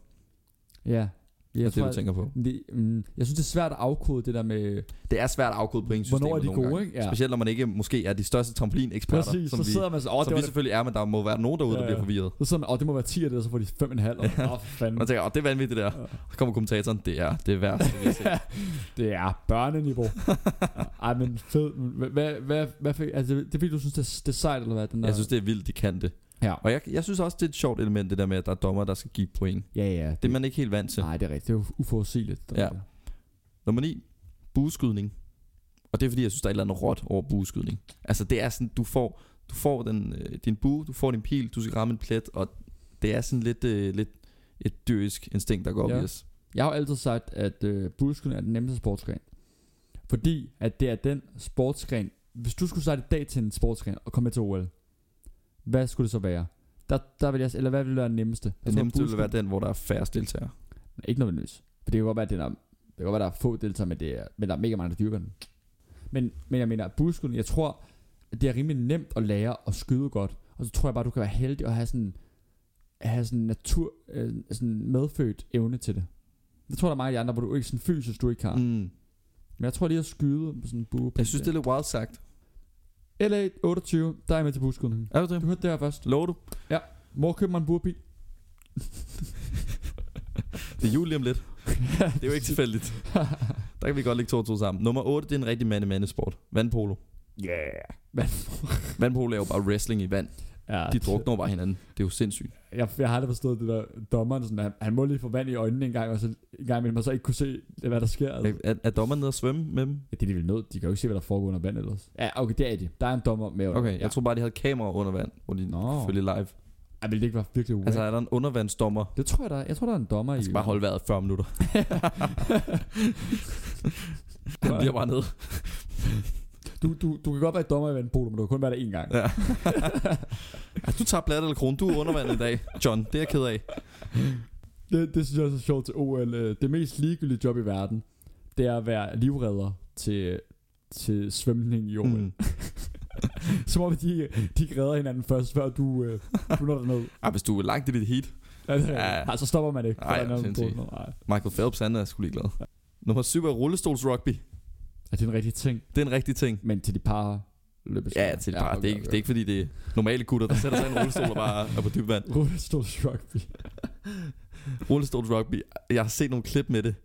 Speaker 2: Ja.
Speaker 1: det
Speaker 2: Jeg,
Speaker 1: er
Speaker 2: tror,
Speaker 1: det, du
Speaker 2: jeg,
Speaker 1: tænker på.
Speaker 2: det, mm, jeg synes, det er svært at afkode det der med...
Speaker 1: Det er svært at afkode pointsystemet
Speaker 2: Hvornår er de
Speaker 1: nogle
Speaker 2: gode,
Speaker 1: gange.
Speaker 2: ikke? Ja.
Speaker 1: Specielt når man ikke måske er de største trampolineksperter,
Speaker 2: Præcis,
Speaker 1: som
Speaker 2: så
Speaker 1: vi,
Speaker 2: sidder man så... Åh, det,
Speaker 1: som vi
Speaker 2: var det,
Speaker 1: selvfølgelig er, men der må være nogen derude, der
Speaker 2: Ja,
Speaker 1: bliver
Speaker 2: ja.
Speaker 1: forvirret.
Speaker 2: så sidder man, åh, det må være 10 af det, og så får de 5,5. Åh, for fanden.
Speaker 1: Man tænker, åh, det er vanvittigt det der. Så kommer kommentatoren, det er det er værste. vi har set."
Speaker 2: det er børneniveau. Ej, men fed. Hvad, hvad, hvad, hvad fik, altså, det er fordi, du synes, det er, det er sejt, eller hvad? Den der,
Speaker 1: Jeg synes, det er vildt, de kan det.
Speaker 2: Ja.
Speaker 1: Og jeg, jeg synes også, det er et sjovt element, det der med, at der er dommer, der skal give point.
Speaker 2: Ja, ja.
Speaker 1: Det er man ikke helt vant til.
Speaker 2: Nej, det er rigtigt. Det er jo uforudsigeligt. det
Speaker 1: Ja.
Speaker 2: der.
Speaker 1: Nummer 9. Bueskydning. Og det er fordi, jeg synes, der er et eller andet råt over bueskydning. Altså, det er sådan, du får, du får den, øh, din bue, du får din pil, du skal ramme en plet, og det er sådan lidt, øh, lidt et dyrisk instinkt, der går
Speaker 2: Ja.
Speaker 1: op i os.
Speaker 2: Jeg har jo altid sagt, at øh, buskydning er den nemmeste sportsgren. Fordi at det er den sportsgren, hvis du skulle starte i dag til en sportsgren og komme med til OL, hvad skulle det så være? Der, der vil jeg, eller hvad ville være den nemmeste? Jeg
Speaker 1: Det
Speaker 2: tror,
Speaker 1: nemmeste vil være
Speaker 2: bueskydning-
Speaker 1: den, hvor der er færre deltagere.
Speaker 2: Ikke nødvendigvis. For det kan godt være, at den er, det kan godt være, der er få deltagere, men, det er, men der er mega mange, der dyrker den. Men, men jeg mener, buskydning, jeg tror, at det er rimelig nemt at lære at skyde godt. Og så tror jeg bare, du kan være heldig at have sådan at have sådan natur, øh, sådan medfødt evne til det. Jeg tror, der er mange af de andre, hvor du ikke sådan fysisk, du ikke har. Mm.
Speaker 1: Mm.
Speaker 2: Men jeg tror lige at skyde med sådan en bue.
Speaker 1: Jeg synes, det er lidt wild sagt.
Speaker 2: LA 28, der er jeg med til buskydning.
Speaker 1: Er du
Speaker 2: Du
Speaker 1: det?
Speaker 2: hørte det her først.
Speaker 1: Lover du?
Speaker 2: Mor køber mig en burbil.
Speaker 1: Det er jul lige om lidt. Det er jo ikke tilfældigt. Der kan vi godt lægge to og to sammen. Nummer 8, det er en rigtig mande-mande-sport. Vandpolo.
Speaker 2: Yeah. Hvad?
Speaker 1: Vandpolo er jo bare wrestling i vand.
Speaker 2: Ja,
Speaker 1: De drukner jo bare hinanden. Det er jo sindssygt.
Speaker 2: jeg, jeg har aldrig forstået det der dommeren, sådan, han, han må lige få vand i øjnene en gang, og så en gang imellem, og så ikke kunne se, hvad der sker. Altså.
Speaker 1: Er, er dommeren nede og svømme med dem?
Speaker 2: Ja, det er de vel nødt. De kan jo ikke se, hvad der foregår under vand ellers. Ja, okay, det er de. Der er en dommer med. under.
Speaker 1: Okay,
Speaker 2: ja.
Speaker 1: jeg tror bare, de havde kamera under vand, hvor de
Speaker 2: Nå.
Speaker 1: selvfølgelig live.
Speaker 2: Ej, vil det ikke være virkelig uvæk?
Speaker 1: Altså,
Speaker 2: Altså,
Speaker 1: er der en undervandsdommer?
Speaker 2: det tror jeg, der er. Jeg tror, der er en dommer
Speaker 1: Han
Speaker 2: i.
Speaker 1: skal bare holde vejret 40 minutter. Han bliver bare nede.
Speaker 2: Du, du, du kan godt være dommer i vandpolo, men du kan kun være der én gang.
Speaker 1: Ja. altså, du tager plat eller kron. Du er under vand i dag, John. Det er jeg ked af.
Speaker 2: Det, det synes jeg også er sjovt til OL. øh, Det mest ligegyldige job i verden. det er at være livredder til, til svømning i OL. Mm. Som om at de, de ikke redder hinanden først, før du, øh, du når derned.
Speaker 1: Ah, hvis du er langt i dit heat.
Speaker 2: Ja, det er
Speaker 1: Ja.
Speaker 2: rigtigt. Ej, så stopper man ikke. for
Speaker 1: Ej,
Speaker 2: der er noget
Speaker 1: sindssygt.
Speaker 2: på. Nej.
Speaker 1: Michael Phelps, han er sgu ligeglad. Nummer 7 er rullestolsrugby.
Speaker 2: Er det en rigtig ting?
Speaker 1: Det er en rigtig ting.
Speaker 2: Men til de par løbes.
Speaker 1: Ja, til bare, det, er ikke, det er ikke fordi, det er normale gutter, der sætter sig i en rullestol og bare er på dyb vand.
Speaker 2: Rullestolsrugby.
Speaker 1: Rullestolsrugby, jeg har set nogle klip med det.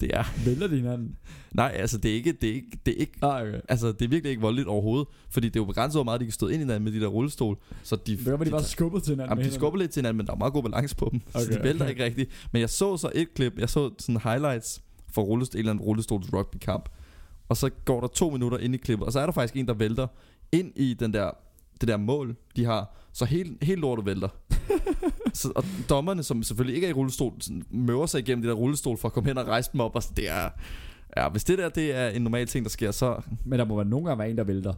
Speaker 1: Det er,
Speaker 2: Vælter de hinanden?
Speaker 1: nej, altså det er ikke, det er ikke, det er ikke
Speaker 2: Ah, okay.
Speaker 1: Altså, det er virkelig ikke voldeligt overhovedet, fordi det er jo begrænset, hvor meget de kan stå ind i hinanden med de der rullestol. Så de,
Speaker 2: Det var, de bare skubbede til hinanden.
Speaker 1: jamen,
Speaker 2: med
Speaker 1: de
Speaker 2: hænderne.
Speaker 1: skubber lidt til hinanden, men der er meget god balance på dem, okay. så
Speaker 2: Okay.
Speaker 1: de vælter ikke rigtigt. Men jeg så så et klip, jeg så sådan highlights fra rullest, en eller anden rullestols rugbykamp, og så går der to minutter ind i klippet, og så er der faktisk en, der vælter ind i den der, det der mål, de har, så helt, helt lortet vælter. så, og dommerne, som selvfølgelig ikke er i rullestol, sådan, møver sig igennem det der rullestol for at komme hen og rejse dem op, og så det er... Ja, hvis det der det er en normal ting, der sker, så
Speaker 2: Men der må være nogle gange være en, der vælter.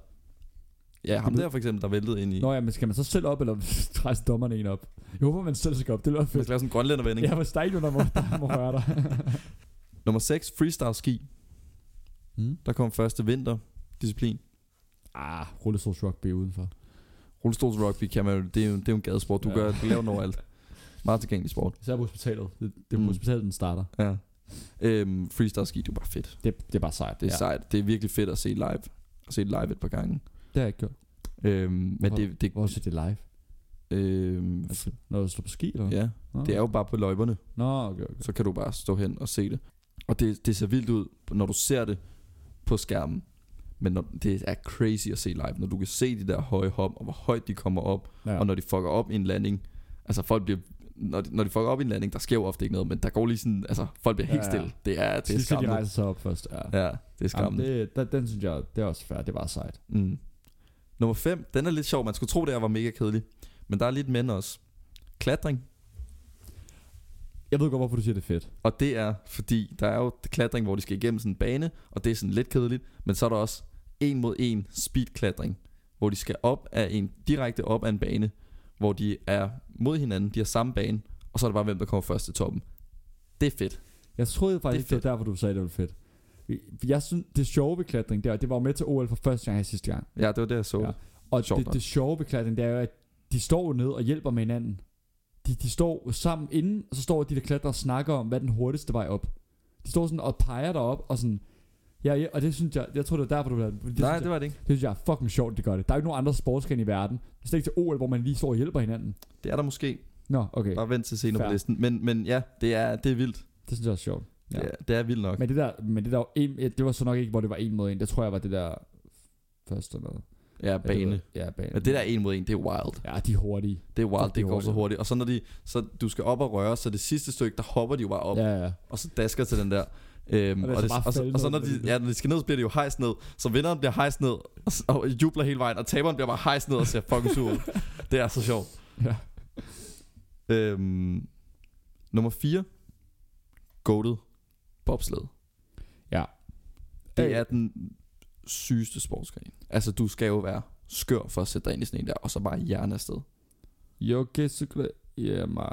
Speaker 1: Ja, ham der for eksempel, der væltede ind i... Nå,
Speaker 2: Nå ja, men skal man så selv op, eller rejser dommerne en op? Jeg håber, man selv skal op. Det lyder
Speaker 1: man
Speaker 2: fedt.
Speaker 1: skal lave sådan en grønlændervending.
Speaker 2: Jeg
Speaker 1: Ja.
Speaker 2: var stadion, der må, der må røre dig.
Speaker 1: Nummer 6, freestyle ski.
Speaker 2: Mm.
Speaker 1: Der kom første vinter disciplin.
Speaker 2: Ah, rullestols rugby udenfor.
Speaker 1: Rullestols rugby kan man jo, det er jo, det er jo en gadesport. Du,
Speaker 2: Ja.
Speaker 1: ja. gør, du laver den overalt. Meget tilgængelig sport.
Speaker 2: Især på hospitalet. Det, det er på
Speaker 1: Mm.
Speaker 2: hospitalet, den starter.
Speaker 1: Ja. Øhm, freestyle ski, det er bare fedt.
Speaker 2: Det, det er bare sejt.
Speaker 1: Det er ja.
Speaker 2: ja.
Speaker 1: sejt. Det er virkelig fedt at se live. At se det live et par gange.
Speaker 2: Det har jeg ikke gjort.
Speaker 1: Øhm, men
Speaker 2: Hvor-
Speaker 1: det, det,
Speaker 2: Hvor ser det live?
Speaker 1: øhm,
Speaker 2: Altså, når du står på ski, eller?
Speaker 1: ja,
Speaker 2: Nå.
Speaker 1: det er jo bare på løjperne.
Speaker 2: Nå, okay, okay.
Speaker 1: Så kan du bare stå hen og se det. Og det, det ser vildt ud, når du ser det på skærmen. Men når, det er crazy at se live, når du kan se de der høje hop, og hvor højt de kommer op,
Speaker 2: Ja.
Speaker 1: ja. og når de fucker op i en landing. Altså folk bliver, når de, når de fucker op i en landing, der sker jo ofte ikke noget, men der går lige sådan, altså folk bliver helt
Speaker 2: Ja,
Speaker 1: ja,
Speaker 2: ja.
Speaker 1: ja. stille. Det er, det er
Speaker 2: Sidst, skal de
Speaker 1: skræmmende.
Speaker 2: rejser sig op først. Ja.
Speaker 1: Ja, det er
Speaker 2: Jamen,
Speaker 1: skræmmende.
Speaker 2: det, der, den synes jeg, det er også fair. Det var sejt.
Speaker 1: Mm. Nummer 5, den er lidt sjov. Man skulle tro, det her var mega kedelig. Men der er lidt mænd også. Klatring.
Speaker 2: Jeg ved godt, hvorfor du siger, det er fedt.
Speaker 1: Og det er, fordi der er jo klatring, hvor de skal igennem sådan en bane, og det er sådan lidt kedeligt, men så er der også en mod en speedklatring, hvor de skal op af en, direkte op af en bane, hvor de er mod hinanden, de har samme bane, og så er det bare, hvem der kommer først til toppen. Det er fedt.
Speaker 2: Jeg troede
Speaker 1: Det er
Speaker 2: faktisk, det, det var derfor, du sagde, det var fedt. Jeg synes, det sjove ved klatring, det, var, det var jo med til OL for første gang her sidste gang.
Speaker 1: Ja, det var det, jeg så.
Speaker 2: Ja.
Speaker 1: Ja.
Speaker 2: Og
Speaker 1: Sjovt
Speaker 2: det,
Speaker 1: nok.
Speaker 2: det sjove ved klatring, det er jo, at de står jo ned og hjælper med hinanden. De, de står sammen inden, og så står de der klatrer og snakker om, hvad er den hurtigste vej op. De står sådan og peger derop og sådan... Ja, ja, og det synes jeg, jeg tror det er derfor du vil have den. Det,
Speaker 1: Nej,
Speaker 2: synes
Speaker 1: det
Speaker 2: jeg,
Speaker 1: var det ikke.
Speaker 2: det synes jeg er fucking sjovt, det gør det. Der er jo ikke nogen andre sportsgren i verden. Det er ikke til OL, hvor man lige står og hjælper hinanden.
Speaker 1: Det er der måske.
Speaker 2: Nå, okay.
Speaker 1: Bare vent til senere
Speaker 2: Fair.
Speaker 1: på listen. Men, men ja, det er, det er vildt.
Speaker 2: Det synes jeg er sjovt. Ja.
Speaker 1: Ja. Det, er, det er vildt nok.
Speaker 2: Men det der, men det der var en, ja, det var så nok ikke, hvor det var en mod en. Det tror jeg var det der første eller noget.
Speaker 1: Ja,
Speaker 2: Ja, det
Speaker 1: bane.
Speaker 2: var- Ja, bane.
Speaker 1: Men det der en mod en, det er wild.
Speaker 2: Ja, de er hurtige.
Speaker 1: Det er wild,
Speaker 2: Det er
Speaker 1: det går så
Speaker 2: hurtigt.
Speaker 1: hurtigt. Og så når de, så du skal op og røre, så det sidste stykke, der hopper de jo bare op.
Speaker 2: Ja, ja.
Speaker 1: og så dasker til den der. Øhm,
Speaker 2: Og
Speaker 1: og,
Speaker 2: det er
Speaker 1: det, og,
Speaker 2: så bare
Speaker 1: og, så,
Speaker 2: faldet
Speaker 1: og så
Speaker 2: ned
Speaker 1: når
Speaker 2: med
Speaker 1: de,
Speaker 2: det der.
Speaker 1: ja, når de skal ned, så bliver de jo hejst ned. Så vinderen bliver hejst ned og, s- og jubler hele vejen, og taberen bliver bare hejst ned og ser fucking sur ud. Det er så sjovt.
Speaker 2: Ja.
Speaker 1: Øhm, nummer 4. Goated. Bobsled.
Speaker 2: Ja. Øh.
Speaker 1: Det er den sygeste sportsgren. Altså, du skal jo være skør for at sætte dig ind i sådan en der, og så bare hjerne afsted.
Speaker 2: Jokke cykle. Ja, man.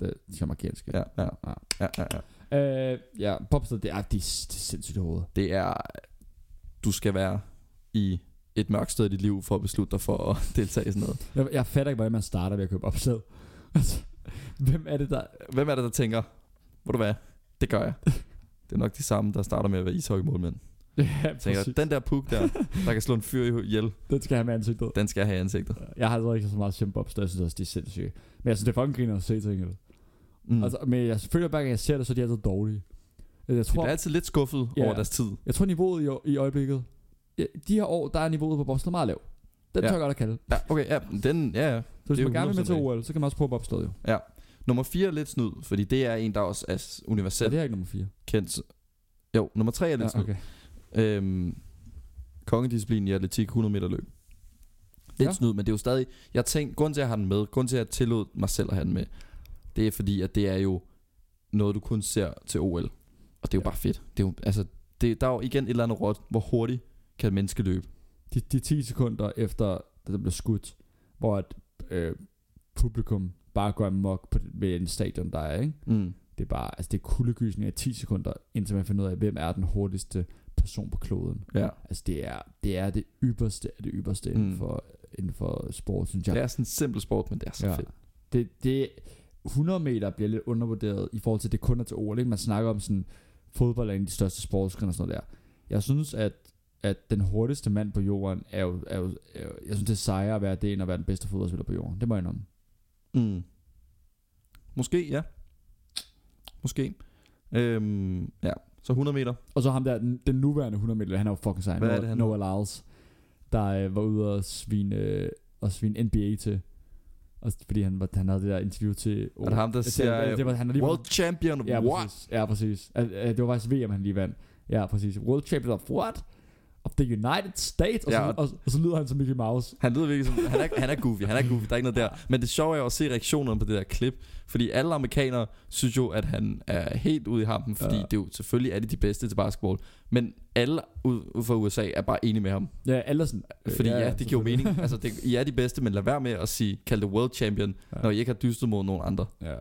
Speaker 2: Det er jamaikanske.
Speaker 1: Ja, ja,
Speaker 2: ja.
Speaker 1: ja, ja, ja.
Speaker 2: Øh, ja, popsted, det er, de, de er sindssygt i hovedet.
Speaker 1: Det er, du skal være i et mørkt sted i dit liv for at beslutte dig for at deltage i sådan noget.
Speaker 2: Jeg, jeg fatter ikke, hvordan man starter ved at købe opsæd. Altså, hvem er det, der...
Speaker 1: Hvem er det, der tænker, hvor du hvad, det gør jeg. Det er nok de samme, der starter med at være ishockeymålmænd.
Speaker 2: Ja,
Speaker 1: Jeg tænker,
Speaker 2: præcis.
Speaker 1: den der puk der, der kan slå en fyr ihjel,
Speaker 2: Den skal jeg have med ansigtet.
Speaker 1: den skal jeg have i ansigtet.
Speaker 2: Jeg har altså ikke så meget sjældent popsted, jeg synes også, de er sindssyge. Men jeg synes, det er fucking griner at se ting. Mm.
Speaker 1: Mm. Altså,
Speaker 2: Altså, men jeg føler, hver gang jeg ser det, så er de altid dårlige. Øh, Jeg
Speaker 1: de
Speaker 2: tror,
Speaker 1: bliver altid lidt skuffet
Speaker 2: Ja.
Speaker 1: yeah. over deres tid.
Speaker 2: Jeg tror niveauet i, ø- i øjeblikket ja, De her år der er niveauet på bobsled meget lav Den
Speaker 1: Ja.
Speaker 2: tør jeg godt at kalde
Speaker 1: Ja, okay, ja, den, ja, ja.
Speaker 2: Så hvis
Speaker 1: Det er
Speaker 2: man gerne vil med til
Speaker 1: 100%
Speaker 2: OL Så kan man også prøve bobsled jo
Speaker 1: Nummer 4 er lidt snyd, fordi det er en, der også er
Speaker 2: Så ja,
Speaker 1: universelt
Speaker 2: det er ikke nummer 4
Speaker 1: kendt. Jo, nummer 3 er lidt
Speaker 2: ja,
Speaker 1: snyd.
Speaker 2: okay.
Speaker 1: Øhm, kongedisciplinen i atletik 100 meter løb. Lidt
Speaker 2: Ja.
Speaker 1: ja. snyd, men det er jo stadig... Jeg tænkte, grund til, at jeg har den med, grund til, at jeg tillod mig selv at have den med, det er fordi, at det er jo noget, du kun ser til OL. Og det er jo
Speaker 2: Ja.
Speaker 1: ja. bare fedt. Det er jo, altså, det, der er jo igen et eller andet råd, hvor hurtigt kan et menneske løbe.
Speaker 2: de, de 10 sekunder efter Da der blev skudt Hvor et øh, publikum Bare går amok på, ved en stadion der er ikke?
Speaker 1: Mm.
Speaker 2: Det er bare, altså det er kuldegysning af 10 sekunder, indtil man finder ud af, hvem er den hurtigste person på kloden.
Speaker 1: Ja.
Speaker 2: Altså det er det, er det ypperste af det ypperste mm. inden,
Speaker 1: Mm.
Speaker 2: for, inden for sport, synes jeg.
Speaker 1: Det er sådan en simpel sport, men det er så
Speaker 2: Ja.
Speaker 1: fedt.
Speaker 2: Det, det 100 meter bliver lidt undervurderet i forhold til, at det kun er til OL. Ikke? Man snakker om sådan, fodbold er en af de største sportsgrene og sådan noget der. Jeg synes, at, at den hurtigste mand på jorden er jo, er jo, er jo jeg synes, det er sejere at være det, end at være den bedste fodboldspiller på jorden. Det må jeg indrømme.
Speaker 1: Mm. Måske, ja. Måske. Øhm, ja, så 100 meter.
Speaker 2: Og så ham der, den, den nuværende 100 meter, han er jo fucking sej.
Speaker 1: Hvad er
Speaker 2: Noah-
Speaker 1: det, han-
Speaker 2: Noah Lyles, der øh, var ude og svine, øh, og svine NBA til. Og, fordi han, var, han havde det der interview til...
Speaker 1: Er det ham, der
Speaker 2: til-
Speaker 1: siger,
Speaker 2: det, det var, han er lige
Speaker 1: World champion,
Speaker 2: Ja,
Speaker 1: what?
Speaker 2: præcis. Ja, præcis. Al- al- Det var faktisk VM, han lige vandt. Ja, præcis. World Champion of what? Of the United States. Og,
Speaker 1: Ja,
Speaker 2: ja.
Speaker 1: og-
Speaker 2: så, og, og så lyder han som Mickey Mouse.
Speaker 1: Han lyder virkelig som, han er, han er goofy, han er goofy, der er ikke noget der. Men det sjove er jo at se reaktionerne på det der klip, fordi alle amerikanere synes jo, at han er helt ude i hampen, fordi
Speaker 2: Ja.
Speaker 1: ja. det er jo, selvfølgelig er de de bedste til basketball, men alle ud, ud fra USA er bare enige med ham.
Speaker 2: Ja, eller sådan.
Speaker 1: Fordi ja, ja det giver jo mening. Altså, det, I er de bedste, men lad være med at sige, kald det world champion,
Speaker 2: Ja.
Speaker 1: ja. når I ikke har dystet mod nogen andre.
Speaker 2: Ja.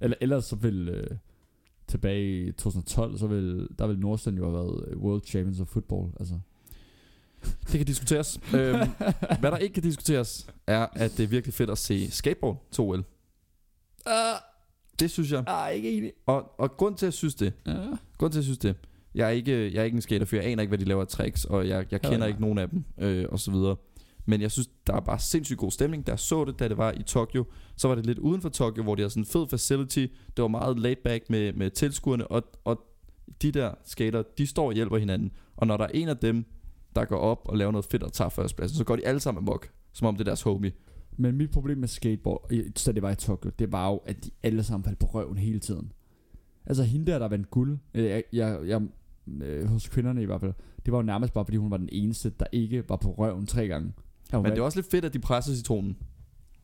Speaker 2: Eller, ellers så vil... Øh, tilbage i 2012, så vil, der vil Nordstrand jo have været øh, World Champions of Football. Altså.
Speaker 1: Det kan diskuteres. øhm, hvad der ikke kan diskuteres, er, at det er virkelig fedt at se skateboard 2L.
Speaker 2: Ah,
Speaker 1: Det synes jeg.
Speaker 2: ah, ikke enig.
Speaker 1: Og, og grund til, at jeg synes det,
Speaker 2: Ah.
Speaker 1: grund til, at jeg synes det, jeg er ikke, jeg er ikke en skaterfyr, jeg aner ikke, hvad de laver af tricks, og jeg, jeg
Speaker 2: Ja,
Speaker 1: kender
Speaker 2: nej.
Speaker 1: ikke nogen af dem, øh, og så videre. Men jeg synes, der er bare sindssygt god stemning. Der så det, da det var i Tokyo. Så var det lidt uden for Tokyo, hvor de havde sådan en fed facility. Det var meget laid back med, med tilskuerne, og, og de der skater, de står og hjælper hinanden. Og når der er en af dem, der går op og laver noget fedt og tager førstepladsen, så går de alle sammen amok, som om det er deres homie.
Speaker 2: Men mit problem med skateboard, i- så det var i Tokyo, det var jo, at de alle sammen faldt på røven hele tiden. Altså hende der, der vandt guld, øh, jeg, jeg, jeg, øh, hos kvinderne i hvert fald, det var jo nærmest bare, fordi hun var den eneste, der ikke var på røven tre gange. Ja, hun
Speaker 1: Men det er
Speaker 2: vandt.
Speaker 1: også lidt fedt, at de presser citronen.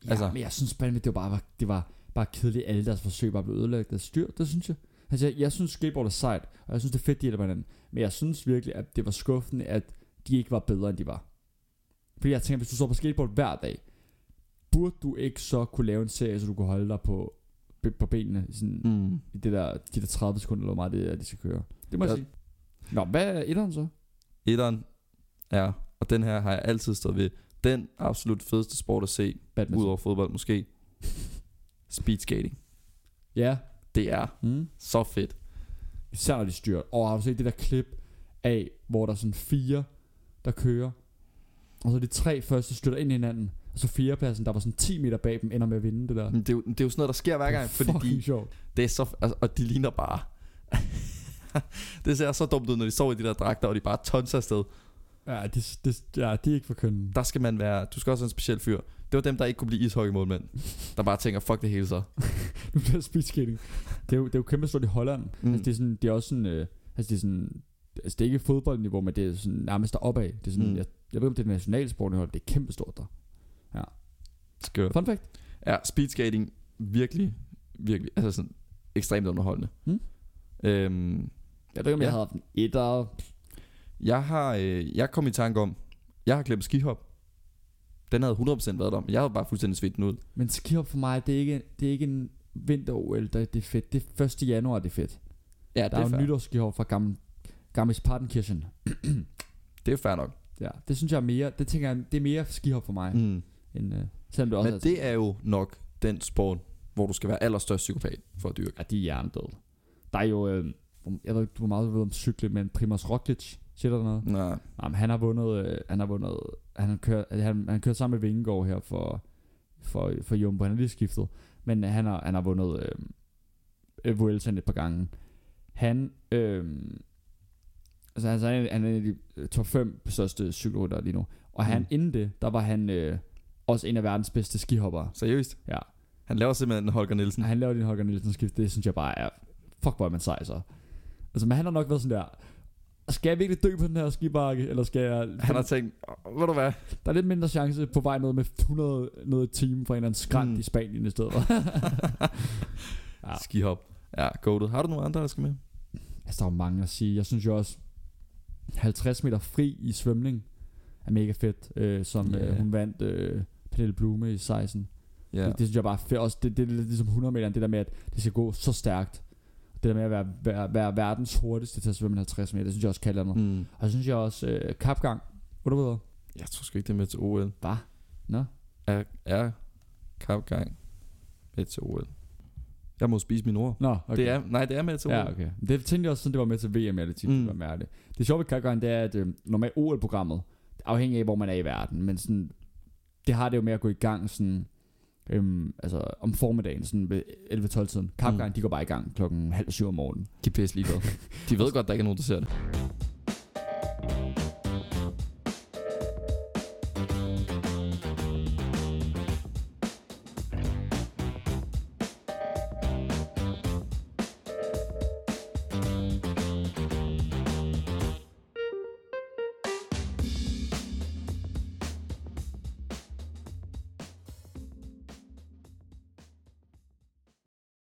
Speaker 2: ja,
Speaker 1: altså-
Speaker 2: men jeg synes fandme, det var bare, det var bare kedeligt, alle deres forsøg bare blev ødelagt af styr, det synes jeg. Altså, jeg, jeg synes skateboard er sejt, og jeg synes, det er fedt, de hjælper hinanden. Men jeg synes virkelig, at det var skuffende, at de ikke var bedre, end de var. Fordi jeg tænker, hvis du står på skateboard hver dag, burde du ikke så kunne lave en serie, så du kunne holde dig på, på benene sådan, mm.
Speaker 1: Mm.
Speaker 2: i det der, de der 30 sekunder, eller hvor meget det er, de skal køre. Det må jeg
Speaker 1: Ja.
Speaker 2: sige. Nå, hvad er etteren så?
Speaker 1: Etteren er, og den her har jeg altid stået ved, den absolut fedeste sport at se,
Speaker 2: Badminton.
Speaker 1: udover fodbold måske, speed skating.
Speaker 2: Ja.
Speaker 1: Det er
Speaker 2: Mm.
Speaker 1: så fedt.
Speaker 2: Især når de styrer. Og har du set det der klip af, hvor der er sådan fire, der kører, og så de tre første støtter ind i hinanden, og så fjerdepladsen, der var sådan 10 meter bag dem, ender med at vinde det der.
Speaker 1: Men Det er, jo, det er jo sådan noget, der sker Mm. hver
Speaker 2: Det er
Speaker 1: gang, fordi
Speaker 2: fucking
Speaker 1: de,
Speaker 2: sjovt.
Speaker 1: det er så, altså, og de ligner bare. det ser så dumt ud, når de står i de der dragter, og de bare tonser afsted.
Speaker 2: Ja, det, det, ja, det er ikke for kønnen.
Speaker 1: Der skal man være, du skal også være en speciel fyr. Det var dem, der ikke kunne blive ishockeymålmænd, der bare tænker, fuck det hele så.
Speaker 2: Nu bliver det speedskating. Det er jo, det er jo kæmpe stort i Holland. Mm.
Speaker 1: Mm.
Speaker 2: Altså, det er, sådan, det er også sådan... Øh, altså, det er sådan... Altså, det er ikke fodboldniveau, men det er sådan nærmest deroppe af. Det er sådan... Mm.
Speaker 1: Mm.
Speaker 2: Jeg, jeg ved ikke, om det er nationalsport i Holland. Det er kæmpe stort der.
Speaker 1: Skørt.
Speaker 2: Fun fact.
Speaker 1: Ja, speedskating virkelig, virkelig, altså sådan ekstremt underholdende.
Speaker 2: Mm.
Speaker 1: Øhm,
Speaker 2: Jeg ved ikke, om ja. jeg havde haft en etter.
Speaker 1: jeg har, øh, jeg kom i tanke om, jeg har glemt skihop. Den havde 100% været der, men jeg havde bare fuldstændig svedt den ud.
Speaker 2: Men skihop for mig, det er ikke, det er ikke en vinter-OL, der det er fedt. Det er 1. januar, det er fedt.
Speaker 1: Ja,
Speaker 2: Der er, er jo nytårsskihop fra gammel, Gammes Partenkirchen.
Speaker 1: Det er fair nok.
Speaker 2: Ja, det synes jeg er mere... Det tænker jeg, det er mere skihop for mig. Mm.
Speaker 1: Mm.
Speaker 2: End, øh, selvom det også
Speaker 1: Men
Speaker 2: er...
Speaker 1: det er jo nok den sport, hvor du skal være allerstørst psykopat for at dyrke.
Speaker 2: Ja, de er hjernedøde. Der er jo, øh, jeg ved ikke, hvor meget du ved om cykling, men Primoz Roglic, siger der noget?
Speaker 1: Nej.
Speaker 2: Nej, men han har vundet, øh, han har vundet, han kører, han, han kører sammen med Vingegaard her for, for, for Jumbo, han er lige skiftet. Men han har, han har vundet øh, øh, Vueltaen et par gange. Han, øh, altså han, han, er, han er en af de øh, top 5 største cykelryttere lige nu. Og han,
Speaker 1: Mm.
Speaker 2: inden det, der var han øh, også en af verdens bedste skihoppere.
Speaker 1: Seriøst?
Speaker 2: Ja.
Speaker 1: Han laver simpelthen en Holger Nielsen.
Speaker 2: Han laver din Holger Nielsen skift Det synes jeg bare er Fuck hvor er man sej så Altså men han har nok været sådan der Skal jeg virkelig dø på den her skibakke Eller skal jeg
Speaker 1: Han har tænkt, "Åh, ved du hvad,
Speaker 2: Der er lidt mindre chance på vej ned med 100 noget time Fra en eller anden skrænt mm.
Speaker 1: Mm.
Speaker 2: i Spanien i stedet for Ja.
Speaker 1: ja. skihop. Ja, goated. Har du nogen andre, der skal med?
Speaker 2: Altså der er jo mange at sige Jeg synes jo også 50 meter fri i svømning Er mega fedt øh, Som
Speaker 1: Ja.
Speaker 2: yeah. øh, hun vandt øh, Pernille Blume i 16
Speaker 1: Ja.
Speaker 2: Det, det synes jeg bare er fedt. Også det, det, det er lidt ligesom 100 meter, det der med, at det skal gå så stærkt. Det der med at være, være, være verdens hurtigste til at svømme en 50 meter, det synes jeg også kalder mig. Mm.
Speaker 1: Mm.
Speaker 2: Og så synes jeg også, øh, kapgang, underveder.
Speaker 1: Jeg tror sgu ikke, det er med til OL.
Speaker 2: Hva? Nå?
Speaker 1: Er, er kapgang med til OL? Jeg må spise mine ord.
Speaker 2: Nå, okay.
Speaker 1: Okay. Det er, nej, det er med til OL.
Speaker 2: Ja, okay. Det tænkte jeg også sådan, det var med til VM, jeg lidt tit,
Speaker 1: Mm.
Speaker 2: mm. med det. Det sjove ved kapgang, det er, at øh, normalt OL-programmet, afhængig af, hvor man er i verden, men sådan, det har det jo med at gå i gang sådan, øhm, altså om formiddagen, sådan ved 11-12 tiden. Kapgang,
Speaker 1: Mm.
Speaker 2: mm. de går bare i gang klokken halv syv om morgenen.
Speaker 1: De er pisse ligeglade. De ved godt, der ikke er nogen, der ser det.